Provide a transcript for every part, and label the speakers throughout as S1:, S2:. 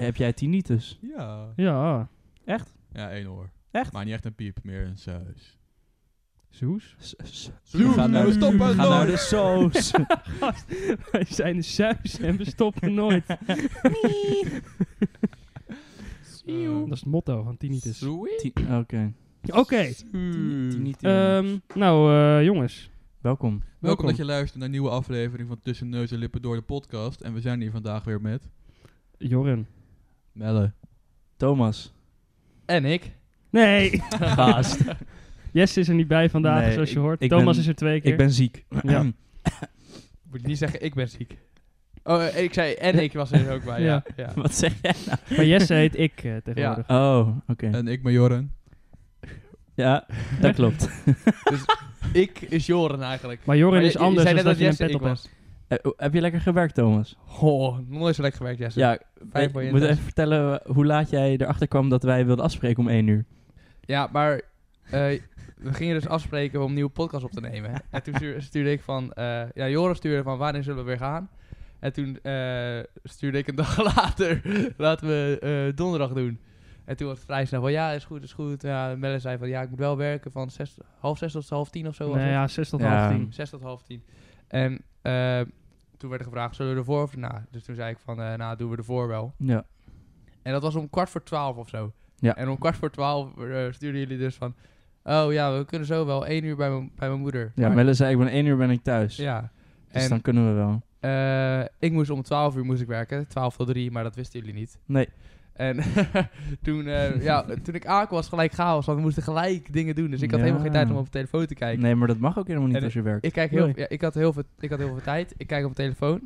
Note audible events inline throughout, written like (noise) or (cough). S1: Heb jij tinnitus?
S2: Ja.
S3: Ja,
S2: Ja, één oor.
S1: Echt?
S2: Maar niet echt een piep, meer een suis.
S3: Soes.
S1: S- s-
S2: Zoes,
S1: Ga nou-
S2: we stoppen
S1: Ga nou
S2: nooit.
S1: de
S3: (laughs)
S4: (laughs)
S1: soos.
S3: Gast, wij zijn de suis en we stoppen nooit.
S2: Eh,
S3: Dat is het motto van tinnitus. Oké,
S1: Ti- Oké.
S4: Hmm.
S1: Tinnitus.
S3: ehm, nou eh, jongens.
S1: Welkom.
S2: Welkom dat je luistert naar een nieuwe aflevering van Tussen Neus en Lippen door de podcast. En we zijn hier vandaag weer met...
S3: Jorren.
S2: Melle.
S1: Thomas.
S4: En ik.
S3: Nee, (laughs)
S1: Gast.
S3: Jess is er niet bij vandaag,
S1: Nee,
S3: zoals je
S1: ik-
S3: hoort.
S1: ik
S3: Thomas
S1: ben-
S3: is er twee keer.
S1: Ik ben ziek. Hmm.
S3: Ja.
S4: Moet je niet zeggen, ik ben ziek. Oh, eh, ik zei, en ik was er ook bij. Ja. (laughs) ja.
S1: Wat zeg jij nou?
S3: Maar Jesse heet ik eh, tegenwoordig.
S1: Oh, oké.
S4: Eh.
S2: En ik ben Joren.
S1: Ja,
S4: (laughs)
S1: dat klopt.
S4: Ik is Joren eigenlijk.
S3: Maar Joren
S4: Maar je-
S3: is
S4: je
S3: anders
S4: zei
S3: dan dat
S4: net dat
S3: je een
S4: Jesse
S3: pet
S4: ik
S3: op was.
S1: Eh, o- heb je lekker gewerkt, Thomas?
S4: Oh, nooit zo lekker gewerkt, Jesse.
S1: Ja,
S4: Vijf
S1: ik
S4: voor je
S1: moet
S4: thuis.
S1: even vertellen eh, hoe laat jij erachter kwam dat wij wilden afspreken om één uur.
S4: Ja, maar eh, we gingen dus afspreken om een nieuwe podcast op te nemen. En toen stuur- stuurde ik van, eh, ja, Joris stuurde van wanneer zullen we weer gaan? En toen eh, stuurde ik een (laughs) dag later, laten we eh, donderdag doen. En toen was het vrij snel van, ja, is goed, is goed. Ja, Melle zei van, ja, ik moet wel werken van zes, half zes tot half tien of zo. was
S3: Nee,
S4: het.
S3: ja, 6 tot
S1: Ja.
S3: half tien.
S4: Zes tot half tien. En eh, toen werd er gevraagd, zullen we ervoor of erna? Dus toen zei ik van, eh, nou, doen we ervoor wel.
S1: Ja.
S4: En dat was om kwart voor twaalf of zo.
S1: Ja.
S4: En om kwart voor twaalf eh, stuurden jullie dus van... Oh ja, we kunnen zo wel één uur bij mijn bij mijn moeder.
S1: Ja,
S4: Maar-
S1: Melle zei ik ben één uur ben ik thuis.
S4: Ja.
S1: Dus
S4: En
S1: dan kunnen we wel.
S4: eh, ik moest om twaalf uur moest ik werken. Twaalf tot drie, maar dat wisten jullie niet.
S1: Nee.
S4: En (laughs) toen, eh, ja, toen ik aankwam was gelijk chaos, want we moesten gelijk dingen doen. Dus ik had
S1: Ja.
S4: helemaal geen tijd om op mijn telefoon te kijken.
S1: Nee, maar dat mag ook helemaal niet
S4: En
S1: als je werkt.
S4: Ik, kijk heel, ja, ik, had heel veel, ik had heel veel tijd. Ik kijk op mijn telefoon.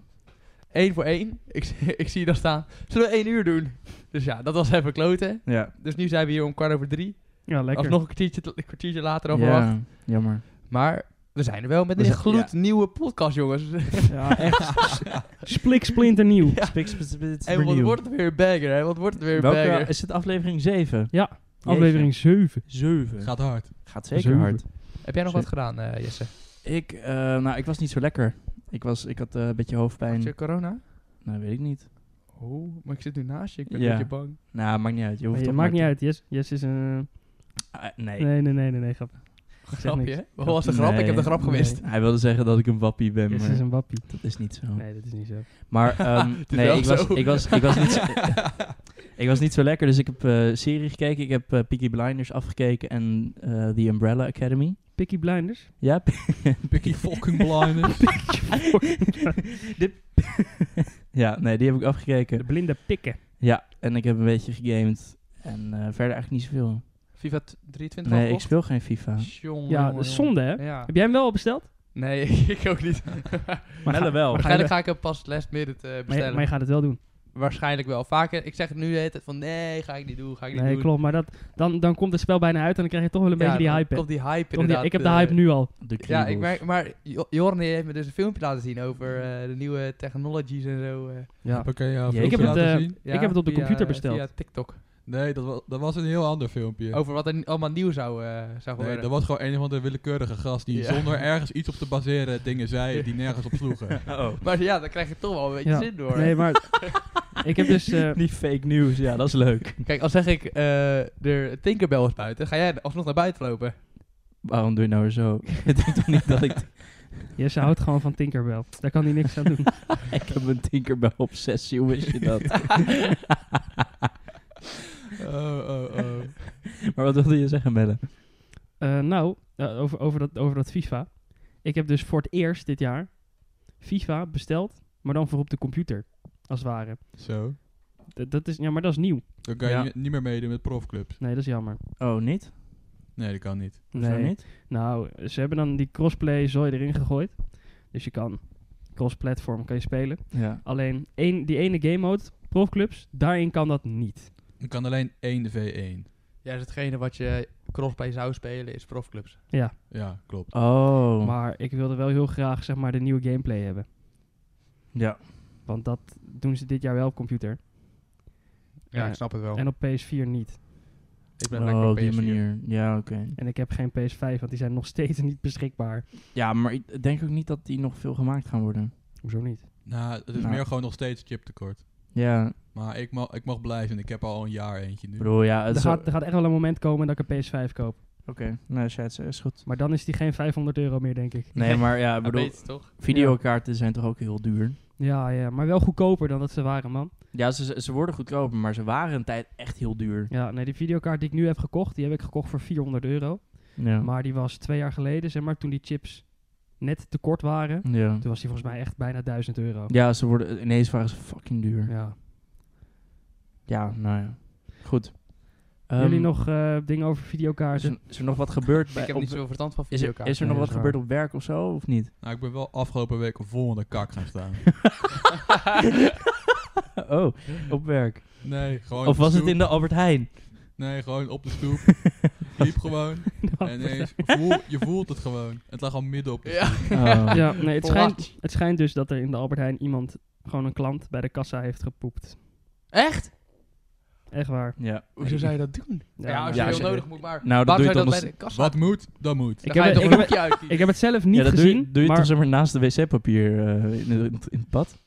S4: Eén voor één. Ik, (laughs) zie- ik zie daar staan. Zullen we één uur doen? Dus ja, dat was even kloten.
S1: ja.
S4: Dus nu zijn we hier om kwart over drie.
S3: Ja, lekker.
S4: Alsnog een kwartiertje, een kwartiertje later dan verwacht.
S1: ja, jammer.
S4: Maar we zijn er wel met
S1: We
S4: een
S1: zijn-
S4: gloednieuwe podcast, jongens.
S3: (laughs) Ja,
S1: (laughs)
S3: echt. Splik splinternieuw.
S4: Ja.
S1: Spik, spik, spik,
S4: (laughs) en wat
S1: vernieuw.
S4: wordt het weer een bagger, hè? Wat wordt het weer een
S1: Welke,
S4: bagger?
S1: is het aflevering 7?
S3: Ja, aflevering 7.
S1: 7. Gaat,
S2: Gaat hard.
S1: gaat zeker
S3: Zeven.
S1: hard.
S4: Heb jij nog
S1: Zit-
S4: wat gedaan, eh, Jesse?
S1: Ik, eh, nou, ik was niet zo lekker. Ik, was, ik had eh, een beetje hoofdpijn.
S4: Had je corona?
S1: Nou, weet ik niet.
S4: Oh, maar ik zit nu naast je. Ik ben
S1: Ja.
S4: een beetje bang.
S1: Nou, maakt niet uit. Je hoeft
S3: Maar je
S1: toch
S3: maakt niet
S1: maar
S3: uit, Jess Jess is een...
S1: te- Ah, nee.
S3: Nee, nee, nee, nee, nee, grap. zeg niks.
S4: Grapje, hè? Wat was de grap?
S1: Nee,
S4: ik heb de grap
S1: nee.
S4: gemist.
S1: Hij wilde zeggen dat ik een wappie ben,
S3: Jess
S1: maar
S3: is een wappie.
S1: dat is niet zo.
S3: Nee, dat is niet zo. (laughs)
S1: Maar ehm,
S4: Het is
S1: nee,
S4: wel
S1: ik was,
S4: zo.
S1: ik, was, ik, was niet zo, ik was niet zo lekker, dus ik heb eh serie gekeken. Ik heb eh, Peaky Blinders afgekeken en eh, The Umbrella Academy.
S3: Picky Blinders.
S1: Ja, (laughs)
S2: Picky fucking blinders.
S1: de ja, nee, die heb ik
S3: De
S1: afgekeken.
S3: blinde pikken.
S1: Ja, en ik heb een beetje gegamed. En eh, verder eigenlijk niet zoveel.
S4: FIFA t- 23
S1: Nee, ik speel geen FIFA.
S3: Ja, dat is zonde, hè?
S4: Ja.
S3: Heb jij hem wel al besteld?
S4: Nee, (laughs) ik ook niet.
S3: Maar
S1: Melle
S3: ga-
S1: wel.
S3: Maar ga, je,
S4: Waarschijnlijk ga ik hem pas last minute eh,
S3: maar, je,
S4: bestellen.
S3: maar je gaat het wel doen.
S4: Waarschijnlijk wel. Vaak, eh, ik zeg het nu de hele tijd van nee, ga ik niet doen, ga ik niet
S3: Nee,
S4: doen.
S3: klopt. Maar dat, dan, dan komt het spel bijna uit en dan krijg je toch wel een beetje die
S4: dan
S3: hype. hè?
S4: Komt die hype
S3: Toch die-
S4: inderdaad.
S3: ik heb de
S4: eh,
S3: hype nu al.
S1: De
S4: Ja, ik
S1: kriebels.
S4: merk, maar Jo- Jorn die heeft me dus een filmpje laten zien over eh, de nieuwe technologies en zo. eh.
S3: Ja.
S2: Oké, ja,
S1: Ik
S2: filmpje
S1: heb het,
S2: laten
S3: eh,
S2: zien.
S4: Ja,
S3: heb het op de
S4: via-
S3: computer besteld.
S4: Via TikTok.
S2: Nee, dat was, dat was een heel ander
S1: Oh,
S2: filmpje.
S4: Over wat er ni- allemaal nieuw zou, eh zou
S2: Nee,
S4: worden.
S2: dat was gewoon een van de willekeurige gast die
S4: Ja.
S2: zonder ergens iets op te baseren dingen zei die nergens op
S1: (laughs)
S2: sloegen.
S4: (laughs)
S1: Oh.
S4: maar ja, daar krijg je toch wel een beetje
S3: Ja.
S4: zin door.
S3: Nee,
S4: (laughs)
S3: maar ik heb dus... eh,
S1: (laughs) Die fake news, ja, dat is leuk.
S4: Kijk, als zeg ik, eh er Tinkerbell is buiten, ga jij alsnog naar buiten lopen.
S1: (laughs) Waarom doe je nou weer (laughs) zo? Ik denk toch niet dat ik...
S3: Jesse houdt gewoon van Tinkerbell. Daar kan hij niks aan
S4: (laughs)
S3: doen.
S1: Ik heb een Tinkerbell-obsessie, hoe wist je (laughs) dat?
S2: Oh, oh, oh.
S1: (laughs) maar wat wilde je zeggen, Melle?
S3: Eh, nou, eh, over, over, dat, over dat FIFA. Ik heb dus voor het eerst dit jaar FIFA besteld, maar dan voor op de computer, als het ware.
S2: Zo.
S3: Dat, dat is, ja, maar dat is nieuw.
S2: Dan kan je
S1: Ja.
S2: ni- niet meer meedoen met profclubs.
S3: Nee, dat is jammer.
S1: Oh, niet?
S2: Nee, dat kan niet.
S1: Hoezo
S3: Nee.
S1: niet?
S3: Nou, ze hebben dan die crossplay zooi erin gegooid. Dus je kan cross-platform kan je spelen.
S1: Ja.
S3: Alleen één, die ene game mode, profclubs, daarin kan dat niet.
S2: Je kan alleen 1 V1.
S4: Ja, dus hetgene wat je crossplay zou spelen is profclubs.
S3: Ja,
S2: Ja, klopt.
S1: Oh.
S3: maar ik wilde wel heel graag zeg maar de nieuwe gameplay hebben.
S1: ja.
S3: Want dat doen ze dit jaar wel op computer. Ja, ik
S4: snap het wel.
S3: En op PS4 niet.
S4: ik ben lekker
S1: Oh,
S4: op
S1: op die
S4: PS4.
S1: manier. Ja, oké.
S3: En ik heb geen PS5, want die zijn nog (laughs) steeds niet beschikbaar.
S1: Ja, maar ik denk ook niet dat die nog veel gemaakt gaan worden.
S3: Hoezo niet?
S2: Nou, het is
S1: Nou.
S2: meer gewoon nog steeds chiptekort.
S1: Ja,
S2: Maar ik mag, ik mag blij zijn. Ik heb al een jaar eentje nu.
S1: ik bedoel, ja. Het
S3: Er
S1: is wel-
S3: gaat, er gaat echt wel een moment komen dat ik een PS5 koop.
S1: Oké, nou, shit, is goed.
S3: Maar dan is die geen 500 euro meer, denk ik.
S1: Nee, maar ja, ik
S4: Dat
S1: bedoel,
S4: weet je toch?
S1: videokaarten zijn toch ook heel duur?
S3: Ja, ja, maar wel goedkoper dan dat ze waren, man.
S1: Ja, ze, ze worden goedkoper, maar ze waren een tijd echt heel duur.
S3: Ja, nee, die videokaart die ik nu heb gekocht, die heb ik gekocht voor 400 euro.
S1: Ja.
S3: Maar die was twee jaar geleden, zeg maar, toen die chips net te kort waren.
S1: ja.
S3: Toen was die volgens mij echt bijna 1000 euro.
S1: Ja, ze worden ineens waren ze fucking duur. Ja,
S3: Ja.
S1: nou ja. Goed.
S3: Jullie
S1: Ehm,
S3: nog eh, dingen over
S1: Is
S3: videokaarten?
S1: er, is er nog wat gebeurd bij...
S4: Ik heb
S1: op-
S4: niet zoveel verstand van
S1: is er,
S4: videokaarten.
S1: is er
S3: Nee,
S1: nog
S3: dat
S1: wat
S3: is
S1: gebeurd
S3: waar.
S1: op werk of zo, of (laughs) niet?
S2: Nou, ik ben wel afgelopen week vol in de kak gaan staan.
S1: oh, (laughs) op werk.
S2: Nee, gewoon
S1: Of
S2: op
S1: was
S2: de
S1: het in de Albert Heijn?
S2: stoep. Nee, gewoon op de
S1: (laughs)
S2: stoep. Liep gewoon. En ineens, voel, je voelt het gewoon. Het lag al midden op de
S4: Ja.
S1: Oh.
S3: (laughs) Ja, nee, het
S4: Voor
S3: schijnt, het schijnt dus dat er in de Albert Heijn iemand, gewoon een klant, bij de kassa heeft gepoept.
S4: Echt?
S3: Echt waar.
S1: Ja.
S4: Hoezo zou je dat doen? Ja, als je
S1: ja,
S3: nou,
S1: als
S4: heel
S1: je-
S4: nodig moet, maar
S1: Nou, dat
S4: waarom
S1: doe je
S4: zou
S1: toch
S4: dat bij
S1: nog...
S4: de kassa
S2: Wat moet, dan moet.
S3: Ik
S4: Dan ga
S3: heb,
S4: je
S3: het-
S4: toch
S3: ik,
S4: een
S3: heb, het-
S4: hoekje uitkiezen?
S3: ik heb het zelf niet
S1: ja, dat
S3: gezien.
S1: doe je, doe je
S3: maar
S1: toch zeg maar naast de wc-papier eh, in, het- in het pad?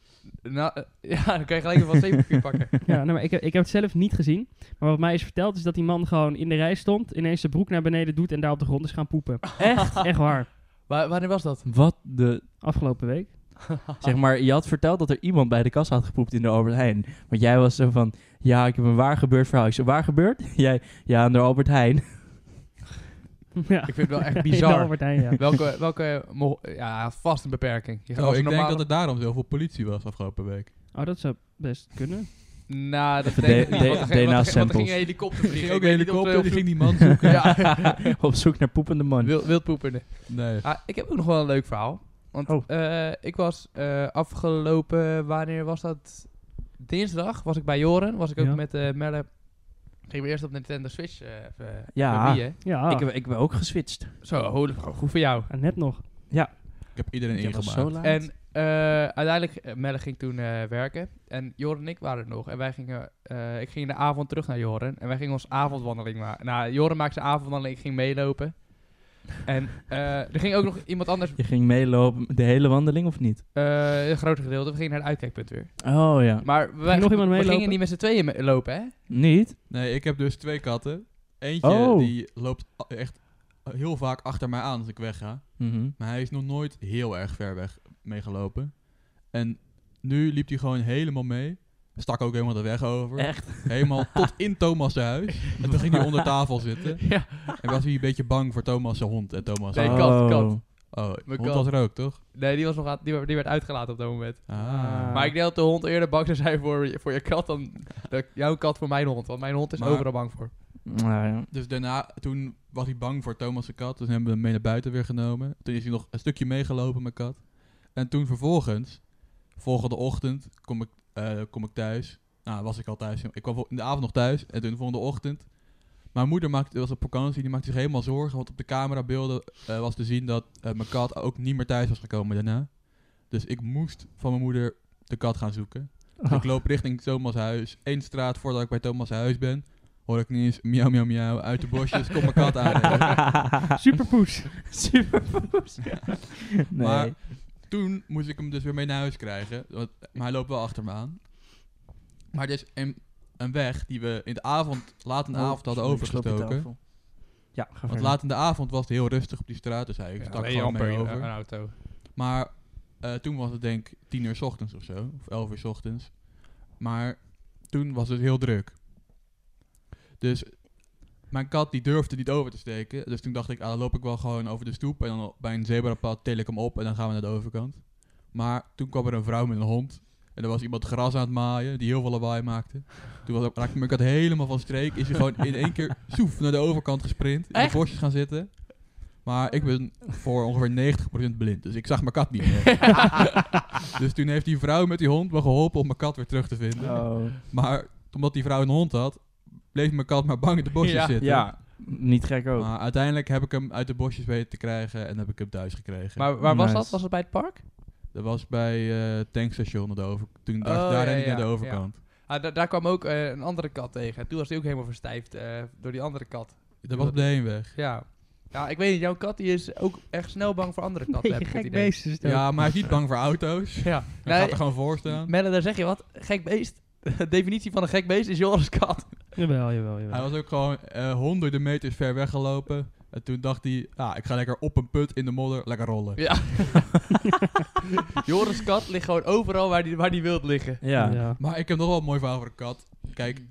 S4: Nou, eh, (laughs) ja, dan kan je gelijk even wat
S1: (laughs)
S4: zeepapier pakken.
S3: Ja, nee, maar ik, heb- ik heb het zelf niet gezien. Maar wat mij is verteld is dat die man gewoon in de rij stond, ineens zijn broek naar beneden doet en daar op de grond is gaan
S4: (laughs)
S3: poepen. Echt? Echt waar.
S4: Wa- wanneer was dat?
S1: Wat de...
S3: Afgelopen week.
S1: Zeg maar, je had verteld dat er iemand bij de kassa had gepoept in de Albert Heijn. Want jij was zo van, ja, ik heb een waar gebeurd verhaal. Ik zei, waar gebeurd? (laughs) Jij, ja, aan de Albert Heijn. (laughs)
S3: (laughs) ja.
S4: Ik vind het wel echt
S3: In de
S4: bizar.
S3: Albert Heijn, ja.
S4: Welke, welke mo- ja, vast een beperking. Je gaat
S2: Oh,
S4: als
S2: ik denk
S4: normale-
S2: dat er daarom zoveel politie was afgelopen week.
S3: Oh, dat zou best kunnen.
S4: Nou, dat
S1: Even
S4: denk ik
S1: D-
S4: niet.
S1: D-
S4: want er ging- want er ging- want er
S1: DNA-samples.
S4: ging een helikopter
S2: Er
S4: vliegen.
S2: ging
S4: Ik
S2: ook een
S4: weet niet of
S2: helikopter, die
S4: er-
S2: ging die man zoeken.
S4: Ja,
S1: Op zoek naar poepende man.
S4: (laughs) Wild, wildpoepende.
S2: Nee.
S4: Ah, ik heb ook nog wel een leuk verhaal. Want
S1: Oh.
S4: eh, ik was eh, afgelopen, wanneer was dat? Dinsdag was ik bij Joren. Was ik ook
S3: Ja.
S4: met eh Melle. Gingen we eerst op Nintendo Switch. eh even
S1: Ja.
S4: verbieden.
S3: Ja,
S2: Ah.
S1: Ik, heb, ik ben ook geswitcht.
S4: Zo, holy goed voor jou.
S3: en net nog.
S2: Ik heb iedereen
S1: Ik was
S2: ingemaakt.
S1: zo laat.
S4: En eh, uiteindelijk, eh, Melle ging toen eh, werken. En Joren en ik waren er nog. En wij gingen, eh, ik ging in de avond terug naar Joren. En wij gingen onze avondwandeling maken. Nou, Joren maakte zijn avondwandeling. Ik ging meelopen. En eh, er ging ook nog iemand anders,
S1: je ging meelopen de hele wandeling of niet?
S4: eh een groter gedeelte. We gingen naar het uitkijkpunt weer.
S1: Oh ja.
S4: Maar wij,
S3: nog iemand
S4: we
S3: meelopen?
S4: gingen niet met z'n tweeën me- lopen, hè?
S1: Niet?
S2: Nee, ik heb dus twee katten. Eentje
S1: Oh.
S2: die loopt a- echt heel vaak achter mij aan als ik wegga.
S1: Mhm.
S2: Maar hij is nog nooit heel erg ver weg meegelopen. En nu liep hij gewoon helemaal mee. Stak ook helemaal de weg over.
S1: Echt?
S4: (laughs)
S2: Helemaal tot in Thomas' huis. En toen ging hij onder tafel zitten.
S4: (laughs) Ja.
S2: En was hij een beetje bang voor Thomas' hond. En Thomas'
S4: Nee,
S2: hond-
S4: kat, kat.
S2: Oh,
S4: mijn
S2: hond
S4: kat.
S2: had er ook, toch?
S4: Nee, die, was nog aan, die, wa- die werd uitgelaten op dat moment.
S1: Ah.
S4: Maar ik denk dat de hond eerder bang zou zijn voor, je- voor je kat dan de- jouw kat voor mijn hond. Want mijn hond is
S2: Maar-
S4: overal bang voor.
S1: Nou ja.
S2: Dus daarna, toen was hij bang voor Thomas' kat. Dus hebben we hem mee naar buiten weer genomen. Toen is hij nog een stukje meegelopen, mijn kat. En toen vervolgens, volgende ochtend, kom ik, eh, kom ik thuis. Nou, was ik al thuis. Ik kwam vol- in de avond nog thuis. En toen de volgende ochtend. Mijn moeder maakte, was op vakantie, die maakte zich helemaal zorgen. Want op de camerabeelden eh, was te zien dat eh, mijn kat ook niet meer thuis was gekomen daarna. Dus ik moest van mijn moeder de kat gaan zoeken. Dus
S1: Oh.
S2: ik loop richting Thomas' huis. Eén straat voordat ik bij Thomas' huis ben, hoor ik niet eens miauw, miauw, miauw uit de bosjes. Kom mijn
S1: (laughs)
S2: kat aan.
S3: Superpoes.
S1: Superpoes. nee.
S2: Maar toen moest ik hem dus weer mee naar huis krijgen. Want, maar hij loopt wel achter me aan. Maar dit is een, een weg die we in de avond, laat in de avond hadden
S1: Oh, ik sloop je
S2: overgestoken.
S1: tafel. Ja, ga
S2: Want
S1: verder.
S2: laat in de avond was het heel rustig op die straat. Dus hij stak gewoon mee over.
S4: een auto.
S2: Maar eh, toen was het denk ik tien uur 's ochtends of zo. Of elf uur 's ochtends. Maar toen was het heel druk. Dus mijn kat die durfde niet over te steken. Dus toen dacht ik, ah, dan loop ik wel gewoon over de stoep. En dan bij een zebrapad tel ik hem op en dan gaan we naar de overkant. Maar toen kwam er een vrouw met een hond. En er was iemand gras aan het maaien, die heel veel lawaai maakte. Toen was, raakte mijn kat helemaal van streek. Is hij gewoon in één keer soef naar de overkant gesprint. In
S4: Echt?
S2: de bosjes gaan zitten. Maar ik ben voor ongeveer 90% blind. Dus ik zag mijn kat niet meer. Dus toen heeft die vrouw met die hond me geholpen om mijn kat weer terug te vinden.
S1: Oh.
S2: Maar omdat die vrouw een hond had, bleef mijn kat maar bang in de bosjes
S4: Ja.
S2: zitten.
S1: Ja, niet gek ook.
S2: Maar uiteindelijk heb ik hem uit de bosjes weten te krijgen en heb ik hem thuis gekregen.
S4: Maar waar was
S1: Nice.
S4: dat? Was het bij het park?
S2: dat was bij eh, het tankstation aan de over. Toen daar,
S4: Oh,
S2: daar
S4: ja,
S2: reed ik
S4: ja,
S2: naar de
S4: ja.
S2: overkant.
S4: Ah, da- daar kwam ook eh, een andere kat tegen. En toen was hij ook helemaal verstijfd eh, door die andere kat.
S2: Dat was op de heenweg.
S4: Ja. Ja, ik weet niet. Jouw kat die is ook echt snel bang voor andere katten.
S3: (laughs) Beetje
S4: heb ik het
S3: gek
S4: idee.
S3: beest is het ook.
S4: (laughs)
S2: Ja, maar hij is niet bang voor auto's. Hij
S4: Ja.
S2: gaat
S4: Nee,
S2: er gewoon voor staan.
S4: Melle, daar zeg je wat. Gek beest. (laughs) De definitie van een gek beest is Joris Kat.
S3: Jawel, jawel, jawel.
S2: Hij was ook gewoon eh, honderden meters ver weggelopen. En toen dacht hij, ah, ik ga lekker op een put in de modder lekker rollen.
S4: Ja. Joris Kat ligt gewoon overal waar die, waar die wilt liggen.
S1: Ja.
S2: Maar ik heb nog wel een mooi verhaal voor een kat. Kijk,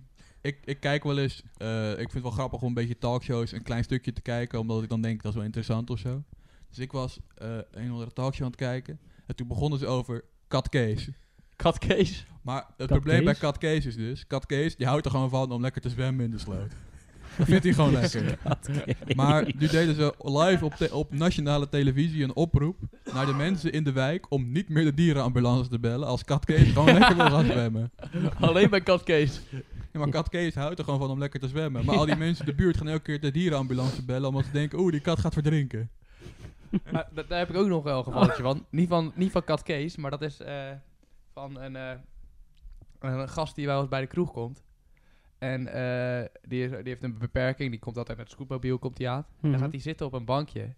S2: ik, ik kijk wel eens. eh, ik vind het wel grappig om een beetje talkshows een klein stukje te kijken. Omdat ik dan denk dat is wel interessant of zo. Dus ik was eh, een of andere talkshow aan het kijken. En toen begonnen ze over Kat Kees.
S4: Kat Kees.
S2: Maar het
S3: Kat
S2: probleem bij
S3: Kees?
S2: Kat Kees is dus. Kat Kees die houdt er gewoon van om lekker te zwemmen in de sloot. Dat vindt hij gewoon lekker. Maar nu deden ze live op, te- op nationale televisie een oproep naar de mensen in de wijk om niet meer de dierenambulance te bellen als Kat Kees gewoon lekker wil gaan zwemmen.
S4: (laughs) Alleen bij Kat Kees.
S2: Ja, maar kat Kees houdt er gewoon van om lekker te zwemmen. Maar al die mensen in de buurt gaan elke keer de dierenambulance bellen... omdat ze denken, oeh, die kat gaat verdrinken.
S4: Maar da- daar heb ik ook nog wel een gevalletje van. Niet van, niet van Kat Kees, maar dat is eh, van een, eh, een gast die wel eens bij de kroeg komt. En eh, die, is- die heeft een beperking, die komt altijd met een scootmobiel, komt hij aan.
S3: Mhm.
S4: Dan gaat hij zitten op een bankje.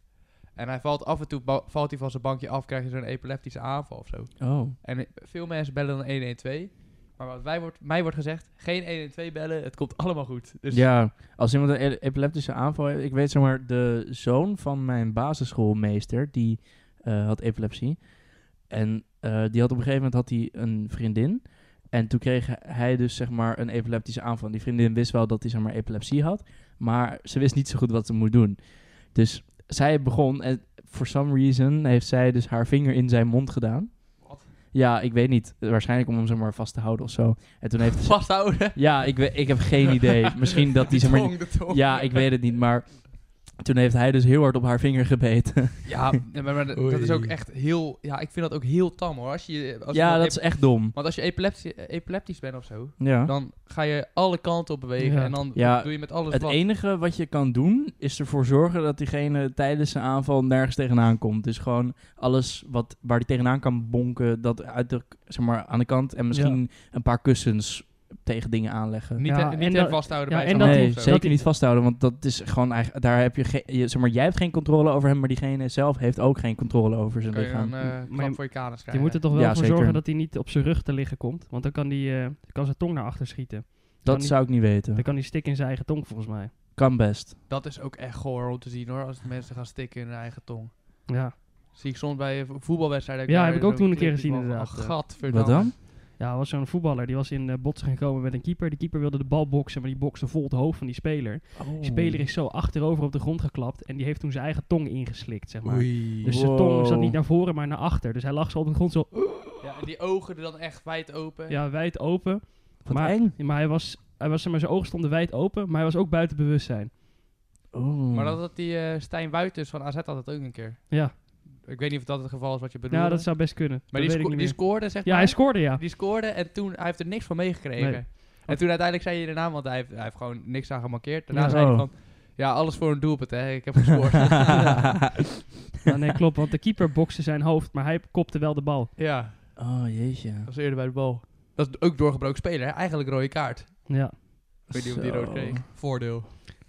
S4: En hij valt af en toe ba- valt hij van zijn bankje af, krijgt hij zo'n epileptische aanval of zo.
S1: Oh.
S4: En eh, veel mensen bellen dan 112. Maar wat wij wordt, mij wordt gezegd, geen 112 bellen, het komt allemaal goed. Dus
S1: Ja, als iemand een e- epileptische aanval heeft... Ik weet zeg maar, de zoon van mijn basisschoolmeester, die eh, had epilepsie. En eh, die had op een gegeven moment had hij een vriendin. En toen kreeg hij dus zeg maar een epileptische aanval. En die vriendin wist wel dat hij zeg maar epilepsie had. Maar ze wist niet zo goed wat ze moest doen. Dus zij begon en for some reason heeft zij dus haar vinger in zijn mond gedaan.
S4: Wat?
S1: Ja, ik weet niet. Waarschijnlijk om hem zeg maar vast te houden of zo. En toen (laughs) heeft ze...
S4: vasthouden.
S1: Ja, ik, we- ik heb geen idee. Misschien dat hij zeg
S4: (laughs)
S1: maar...
S4: Tong, de tong.
S1: Ja, ik weet het niet, maar toen heeft hij dus heel hard op haar vinger gebeten. (laughs)
S4: Ja, maar, maar dat
S2: Oei.
S4: is ook echt heel... Ja, ik vind dat ook heel tam hoor. Als je, als
S1: ja,
S4: je-
S1: dat is echt dom.
S4: Want als je epilepsie, epileptisch bent of zo,
S1: Ja.
S4: dan ga je alle kanten op bewegen.
S3: Ja.
S4: En dan
S1: Ja,
S4: doe je met alles
S1: Het
S4: wat.
S1: enige wat je kan doen is ervoor zorgen dat diegene tijdens zijn aanval nergens tegenaan komt. Dus gewoon alles wat, waar hij tegenaan kan bonken, dat uit de, zeg maar, aan de kant. En misschien een paar kussens tegen dingen aanleggen.
S4: Niet,
S3: Ja,
S4: hem- niet
S3: en
S4: hem
S3: dat-
S4: vasthouden
S3: ja,
S4: bij
S3: en
S4: zo'n
S3: dat
S1: nee,
S4: hand
S3: hij-
S4: of zo.
S1: zeker
S3: hij-
S1: niet vasthouden, want dat is gewoon eigenlijk, daar heb je, geen- je zeg maar, jij hebt geen controle over hem, maar diegene zelf heeft ook geen controle over zijn
S4: Kan je
S1: lichaam.
S4: dan eh klap
S3: Maar je-
S4: voor je kanus krijgen.
S3: Je moet er toch wel
S1: Ja,
S3: voor
S1: zeker.
S3: zorgen dat hij niet op zijn rug te liggen komt. Want dan kan, die, eh, kan zijn tong naar achter schieten.
S1: dat
S3: kan niet-
S1: zou ik niet weten.
S3: Dan kan hij stikken in zijn eigen tong, volgens mij.
S1: Kan best.
S4: Dat is ook echt goor om te zien hoor, als mensen gaan stikken in hun eigen tong.
S3: Ja,
S4: Zie ik soms bij eh, vo- voetbalwedstrijden.
S3: Ja,
S4: daar
S3: heb ik
S4: zo'n
S3: ook toen een keer
S4: clipje
S3: gezien,
S4: van.
S3: inderdaad.
S4: Ach, gadverdamme.
S1: Wat dan?
S3: ja er was zo'n voetballer. Die was in eh, botsing gekomen met een keeper. De keeper wilde de bal boksen, maar die bokste vol het hoofd van die speler.
S1: Oh,
S3: Die speler is zo achterover op de grond geklapt. En die heeft toen zijn eigen tong ingeslikt, zeg maar.
S2: Oei.
S3: Dus zijn tong zat
S1: Wow.
S3: niet naar voren, maar naar achter. Dus hij lag zo op de grond zo
S4: Ja, en die ogen er dan echt wijd open.
S3: ja, wijd open.
S1: Wat
S3: maar,
S1: eng.
S3: Maar, hij was, hij was, zeg maar zijn ogen stonden wijd open, maar hij was ook buiten bewustzijn.
S1: Oeh.
S4: Maar dat had die eh, Stijn Wuiters van AZ had dat ook een keer.
S3: Ja,
S4: Ik weet niet of dat het geval is wat je bedoelt.
S3: ja dat zou best kunnen. dat
S4: maar die,
S3: weet ik
S4: sco-
S3: niet
S4: die
S3: meer.
S4: scoorde, zeg
S3: Ja,
S4: maar.
S3: hij scoorde, ja.
S4: Die scoorde en toen, hij heeft er niks van meegekregen.
S3: Nee.
S4: En toen uiteindelijk zei je de naam, want hij heeft, hij heeft gewoon niks aan gemarkeerd. Daarna
S1: Ja.
S4: zei hij
S1: Oh.
S4: van, ja, alles voor een doelpunt, hè.
S1: (laughs)
S4: Ik heb gescoord.
S3: Ja, nee, klopt, want de keeper bokste zijn hoofd, maar hij kopte wel de bal.
S4: ja,
S1: oh jeetje.
S4: dat was eerder bij de bal. Dat is ook doorgebroken speler, hè. Eigenlijk rode kaart. Ik
S3: Ja.
S4: weet niet of die
S1: Zo.
S4: rood kreeg.
S2: Voordeel.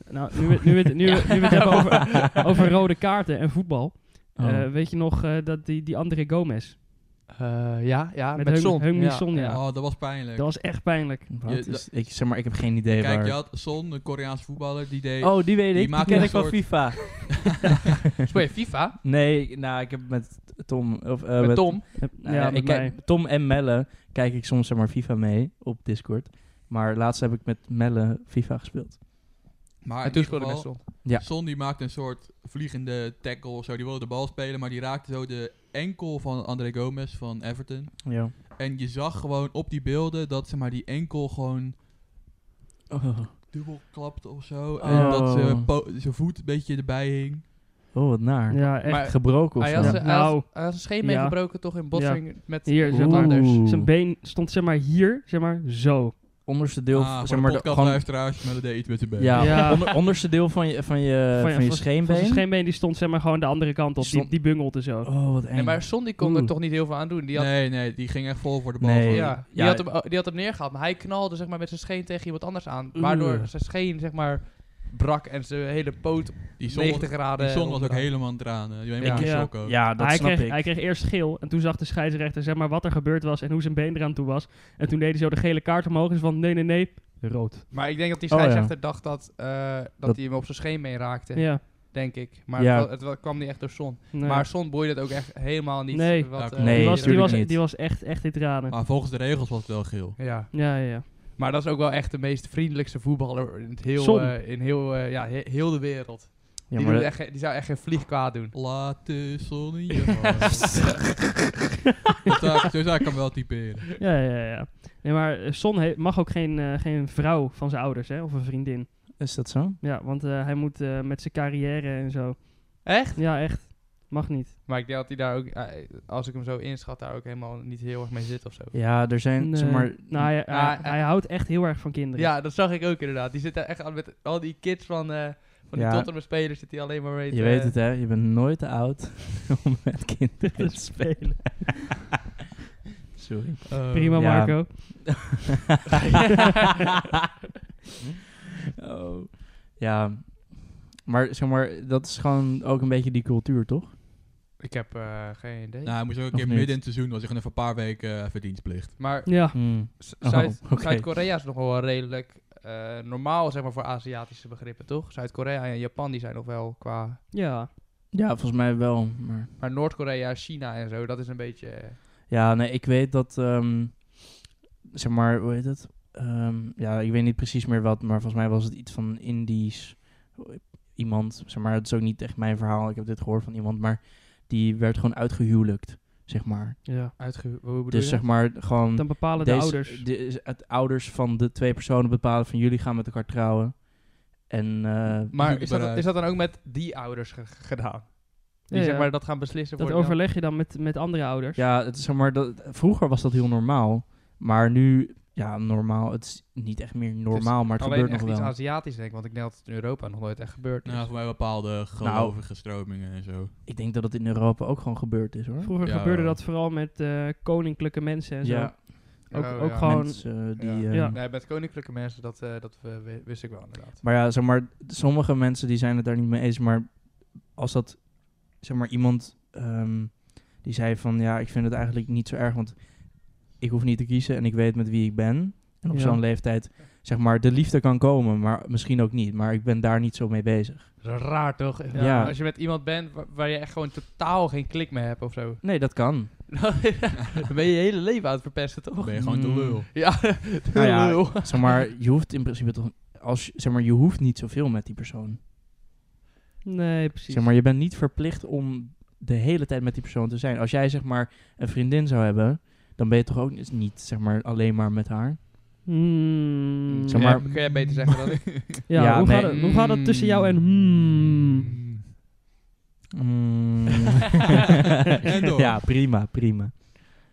S3: Nou, nu we, nu we, het- nu we, nu we het hebben
S4: (laughs)
S3: over, over rode kaarten en voetbal.
S1: Oh.
S3: eh, weet je nog eh, dat die, die André Gomez?
S4: Eh, ja, ja,
S3: Met
S4: met,
S3: Heung-
S4: Son.
S3: Heung-min Son, ja.
S2: Oh, dat was pijnlijk.
S3: Dat was echt pijnlijk.
S1: Wat
S2: Je-
S1: is, ik, zeg maar, ik heb geen idee
S2: Kijk,
S1: waar.
S2: je had Son, een Koreaanse voetballer, die deed...
S1: oh, die weet ik.
S2: die
S1: Die,
S2: maakt
S1: ken
S2: een
S1: ik van
S2: soort-
S1: FIFA.
S4: Speel je FIFA
S1: Nee, nou, ik heb met Tom... Of, eh,
S4: met Tom?
S3: Eh,
S1: nou,
S3: ja,
S1: ik
S3: met mij.
S1: kijk, Tom en Melle kijk ik soms zeg maar FIFA mee op Discord. Maar laatst heb ik met Melle FIFA gespeeld.
S2: Maar
S4: En
S2: in
S4: toen
S2: ieder
S4: speelde ik met
S2: geval,
S4: Son.
S1: Ja.
S2: Son die maakte een soort vliegende tackle of zo. Die wilde de bal spelen, maar die raakte zo de enkel van André Gomez van Everton.
S1: Ja.
S2: En je zag gewoon op die beelden dat zeg maar, die enkel gewoon
S1: Oh,
S2: dubbel klapte of zo. En dat ze
S1: Oh.
S2: po- zijn voet een beetje erbij hing.
S1: oh, wat naar.
S3: Ja, echt.
S4: Maar-
S1: Gebroken of
S4: Hij
S1: zo.
S4: had,
S3: Ja.
S4: zijn- hij had-
S3: Nou.
S4: hij had zijn scheen
S3: Ja.
S4: meegebroken toch in botsing met
S3: Hier, zeg maar.
S4: Oeh.
S1: Oeh.
S3: Zijn been stond zeg maar hier, zeg maar zo.
S1: Onderste deel...
S2: ah,
S1: zeg
S2: voor
S1: maar,
S2: de
S1: de- gewoon,
S2: podcastluisteraars, maar dat deed iets met zijn been.
S1: ja,
S3: Ja.
S1: onder- onderste deel van je, van je, van je
S3: Van
S1: scheenbeen.
S3: zijn scheenbeen die stond zeg maar gewoon de andere kant op. Die,
S1: Stond-
S3: die bungelde zo.
S1: Oh, wat eng.
S4: Nee, maar Son die kon er
S3: Oeh.
S4: toch niet heel veel aan doen. Die had,
S2: nee, nee, die ging echt vol voor de bal.
S1: Nee.
S2: gewoon.
S4: ja, die,
S1: Ja.
S4: had hem, die had hem neergehaald, maar hij knalde zeg maar, met zijn scheen tegen iemand anders aan. Waardoor
S1: Oeh.
S4: zijn scheen zeg maar, brak en zijn hele poot
S2: Die zon,
S4: 90 graden.
S2: die zon was ook
S4: omdraaide.
S2: helemaal aan het tranen. Je weet
S4: Ja.
S2: met je
S3: Ja.
S2: sok ook.
S1: Ja, dat
S3: hij,
S1: snap
S3: kreeg,
S1: ik.
S3: hij kreeg eerst geel en toen zag de scheidsrechter zeg maar, wat er gebeurd was en hoe zijn been eraan toe was. En toen deed hij zo de gele kaart omhoog en van nee, nee, nee, rood.
S4: Maar ik denk dat die
S1: Oh, ja.
S4: scheidsrechter dacht dat, eh, dat,
S1: Dat-
S4: hij hem op zijn scheen mee raakte,
S3: Ja,
S4: denk ik. Maar
S1: Ja.
S4: het, wa- het wa- kwam niet echt door zon.
S3: nee.
S4: Maar zon boeide het ook echt helemaal niet.
S3: Nee.
S4: wat,
S2: Ja,
S4: eh,
S1: Nee,
S3: die, was, die,
S1: tuurlijk
S3: was,
S1: niet. Ah.
S3: die was echt, echt in tranen.
S2: Maar volgens de regels was het wel geel.
S4: Ja,
S3: Ja, ja, ja.
S4: maar dat is ook wel echt de meest vriendelijkste voetballer in, het heel,
S3: Zon.
S4: eh, in heel, eh, ja, he- heel de wereld.
S1: Ja,
S4: die,
S1: maar
S4: doet
S1: dat-
S4: echt, geen- die zou echt geen vlieg kwaad doen.
S2: Laat de zon in je Dus hart. Zo zou ik- Zo zou ik hem wel typeren.
S3: ja, ja, ja, ja. Nee, maar eh, Son he- mag ook geen, eh, geen vrouw van zijn ouders hè, of een vriendin.
S1: Is dat zo?
S3: Ja, want eh, hij moet eh, met zijn carrière en zo.
S4: Echt?
S3: Ja, echt. Mag niet.
S4: Maar ik denk dat hij daar ook, eh, als ik hem zo inschat, daar ook helemaal niet heel erg mee zit of zo.
S1: Ja, er zijn,
S3: Nee.
S1: zeg maar...
S3: nou, hij, hij,
S4: Ah,
S3: hij houdt echt heel erg van kinderen.
S4: Ja, dat zag ik ook inderdaad. Die zit daar echt al met al die kids van, eh, van die
S1: Ja.
S4: Tottenham spelers zit hij alleen maar mee. te-
S1: je weet het, hè? Je bent nooit te oud (laughs) om met kinderen te spelen. (laughs) Sorry.
S2: Eh,
S3: Prima,
S1: Ja.
S3: Marco.
S1: oh. Ja, maar zeg maar, dat is gewoon ook een beetje die cultuur, toch?
S4: Ik heb eh, geen idee.
S2: Nou, hij moest ook een
S1: Of
S2: keer
S1: niet?
S2: midden in het seizoen, was hij gewoon even een paar weken eh, even dienstplicht.
S4: Maar
S3: Ja.
S4: Z-
S1: Oh,
S4: Zuid-
S1: (laughs) oké.
S4: Zuid-Korea is nog wel redelijk eh, normaal, zeg maar, voor Aziatische begrippen, toch? Zuid-Korea en Japan, die zijn nog wel qua...
S3: Ja.
S1: Ja, volgens mij wel. Maar...
S4: Maar Noord-Korea, China en zo, dat is een beetje... eh,
S1: Ja, nee, ik weet dat, ehm, zeg maar, hoe heet het? Ehm, ja, ik weet niet precies meer wat, maar volgens mij was het iets van Indisch iemand. Zeg maar, het is ook niet echt mijn verhaal. Ik heb dit gehoord van iemand, maar die werd gewoon uitgehuwelijkt, zeg maar.
S3: ja.
S4: uitge... Hoe bedoel
S1: Dus
S4: je
S1: zeg
S4: dat?
S1: maar, gewoon...
S3: Dan bepalen de
S1: Deze-
S3: ouders.
S1: de- is het ouders van de twee personen bepalen van jullie gaan met elkaar trouwen. En eh,
S4: Maar is dat,
S2: Bereid.
S4: is dat dan ook met die ouders ge- ge- gedaan? Die
S3: Ja,
S4: zeg
S3: ja.
S4: maar dat gaan beslissen
S3: dat
S4: voor... die
S3: overleg je dan met, met andere ouders.
S1: ja, het is, zeg maar, dat, vroeger was dat heel normaal. Maar nu, ja, normaal. Het is niet echt meer normaal, maar het
S4: ander- Alleen
S1: gebeurt
S4: echt
S1: nog
S4: iets
S1: wel.
S4: Aziatisch, denk ik, want ik denk dat het in Europa nog nooit echt gebeurd is.
S2: Nou, voor mij bepaalde gelovige stromingen en zo.
S1: Ik denk dat het in Europa ook gewoon gebeurd is hoor.
S3: Vroeger
S2: Ja,
S3: gebeurde
S2: wel.
S3: dat vooral met eh, koninklijke mensen en zo.
S1: Ja,
S3: Ook,
S4: Oh,
S3: ook
S4: ja.
S3: gewoon...
S1: mensen die.
S4: Ja.
S1: eh,
S3: Ja.
S4: Nee, met koninklijke mensen, dat, eh, dat eh, wi- wist ik wel inderdaad.
S1: Maar ja, zeg maar, sommige mensen die zijn het daar niet mee eens. Maar als dat, zeg maar, iemand ehm, die zei van, ja, ik vind het eigenlijk niet zo erg, want ik hoef niet te kiezen en ik weet met wie ik ben. En op
S3: Ja.
S1: zo'n leeftijd, zeg maar, de liefde kan komen, maar misschien ook niet. Maar ik ben daar niet zo mee bezig.
S4: Dat is raar, toch? Ja.
S1: Ja.
S4: Als je met iemand bent waar, waar je echt gewoon totaal geen klik mee hebt of zo.
S1: Nee, dat kan.
S4: Nou, (laughs) dan ben je je hele leven aan het verpesten,
S2: Dan
S4: toch?
S2: ben je gewoon te
S1: Mm.
S2: lul.
S4: Ja,
S1: Nou
S4: (laughs)
S1: ja,
S4: lul.
S1: Zeg maar, je hoeft in principe toch, als, je- zeg maar, je hoeft niet zoveel met die persoon.
S3: Nee, precies.
S1: Zeg maar, je bent niet verplicht om de hele tijd met die persoon te zijn. Als jij, zeg maar, een vriendin zou hebben, dan ben je toch ook niet, zeg maar, alleen maar met haar.
S3: Hmm.
S1: Zeg maar-
S4: kun, jij, kun jij beter zeggen dan ik?
S3: ja,
S1: Ja,
S3: hoe,
S1: nee.
S3: gaat het, Eh, hoe gaat het tussen jou en... Hmm.
S1: (laughs) Mm.
S2: En door.
S1: ja, prima, prima.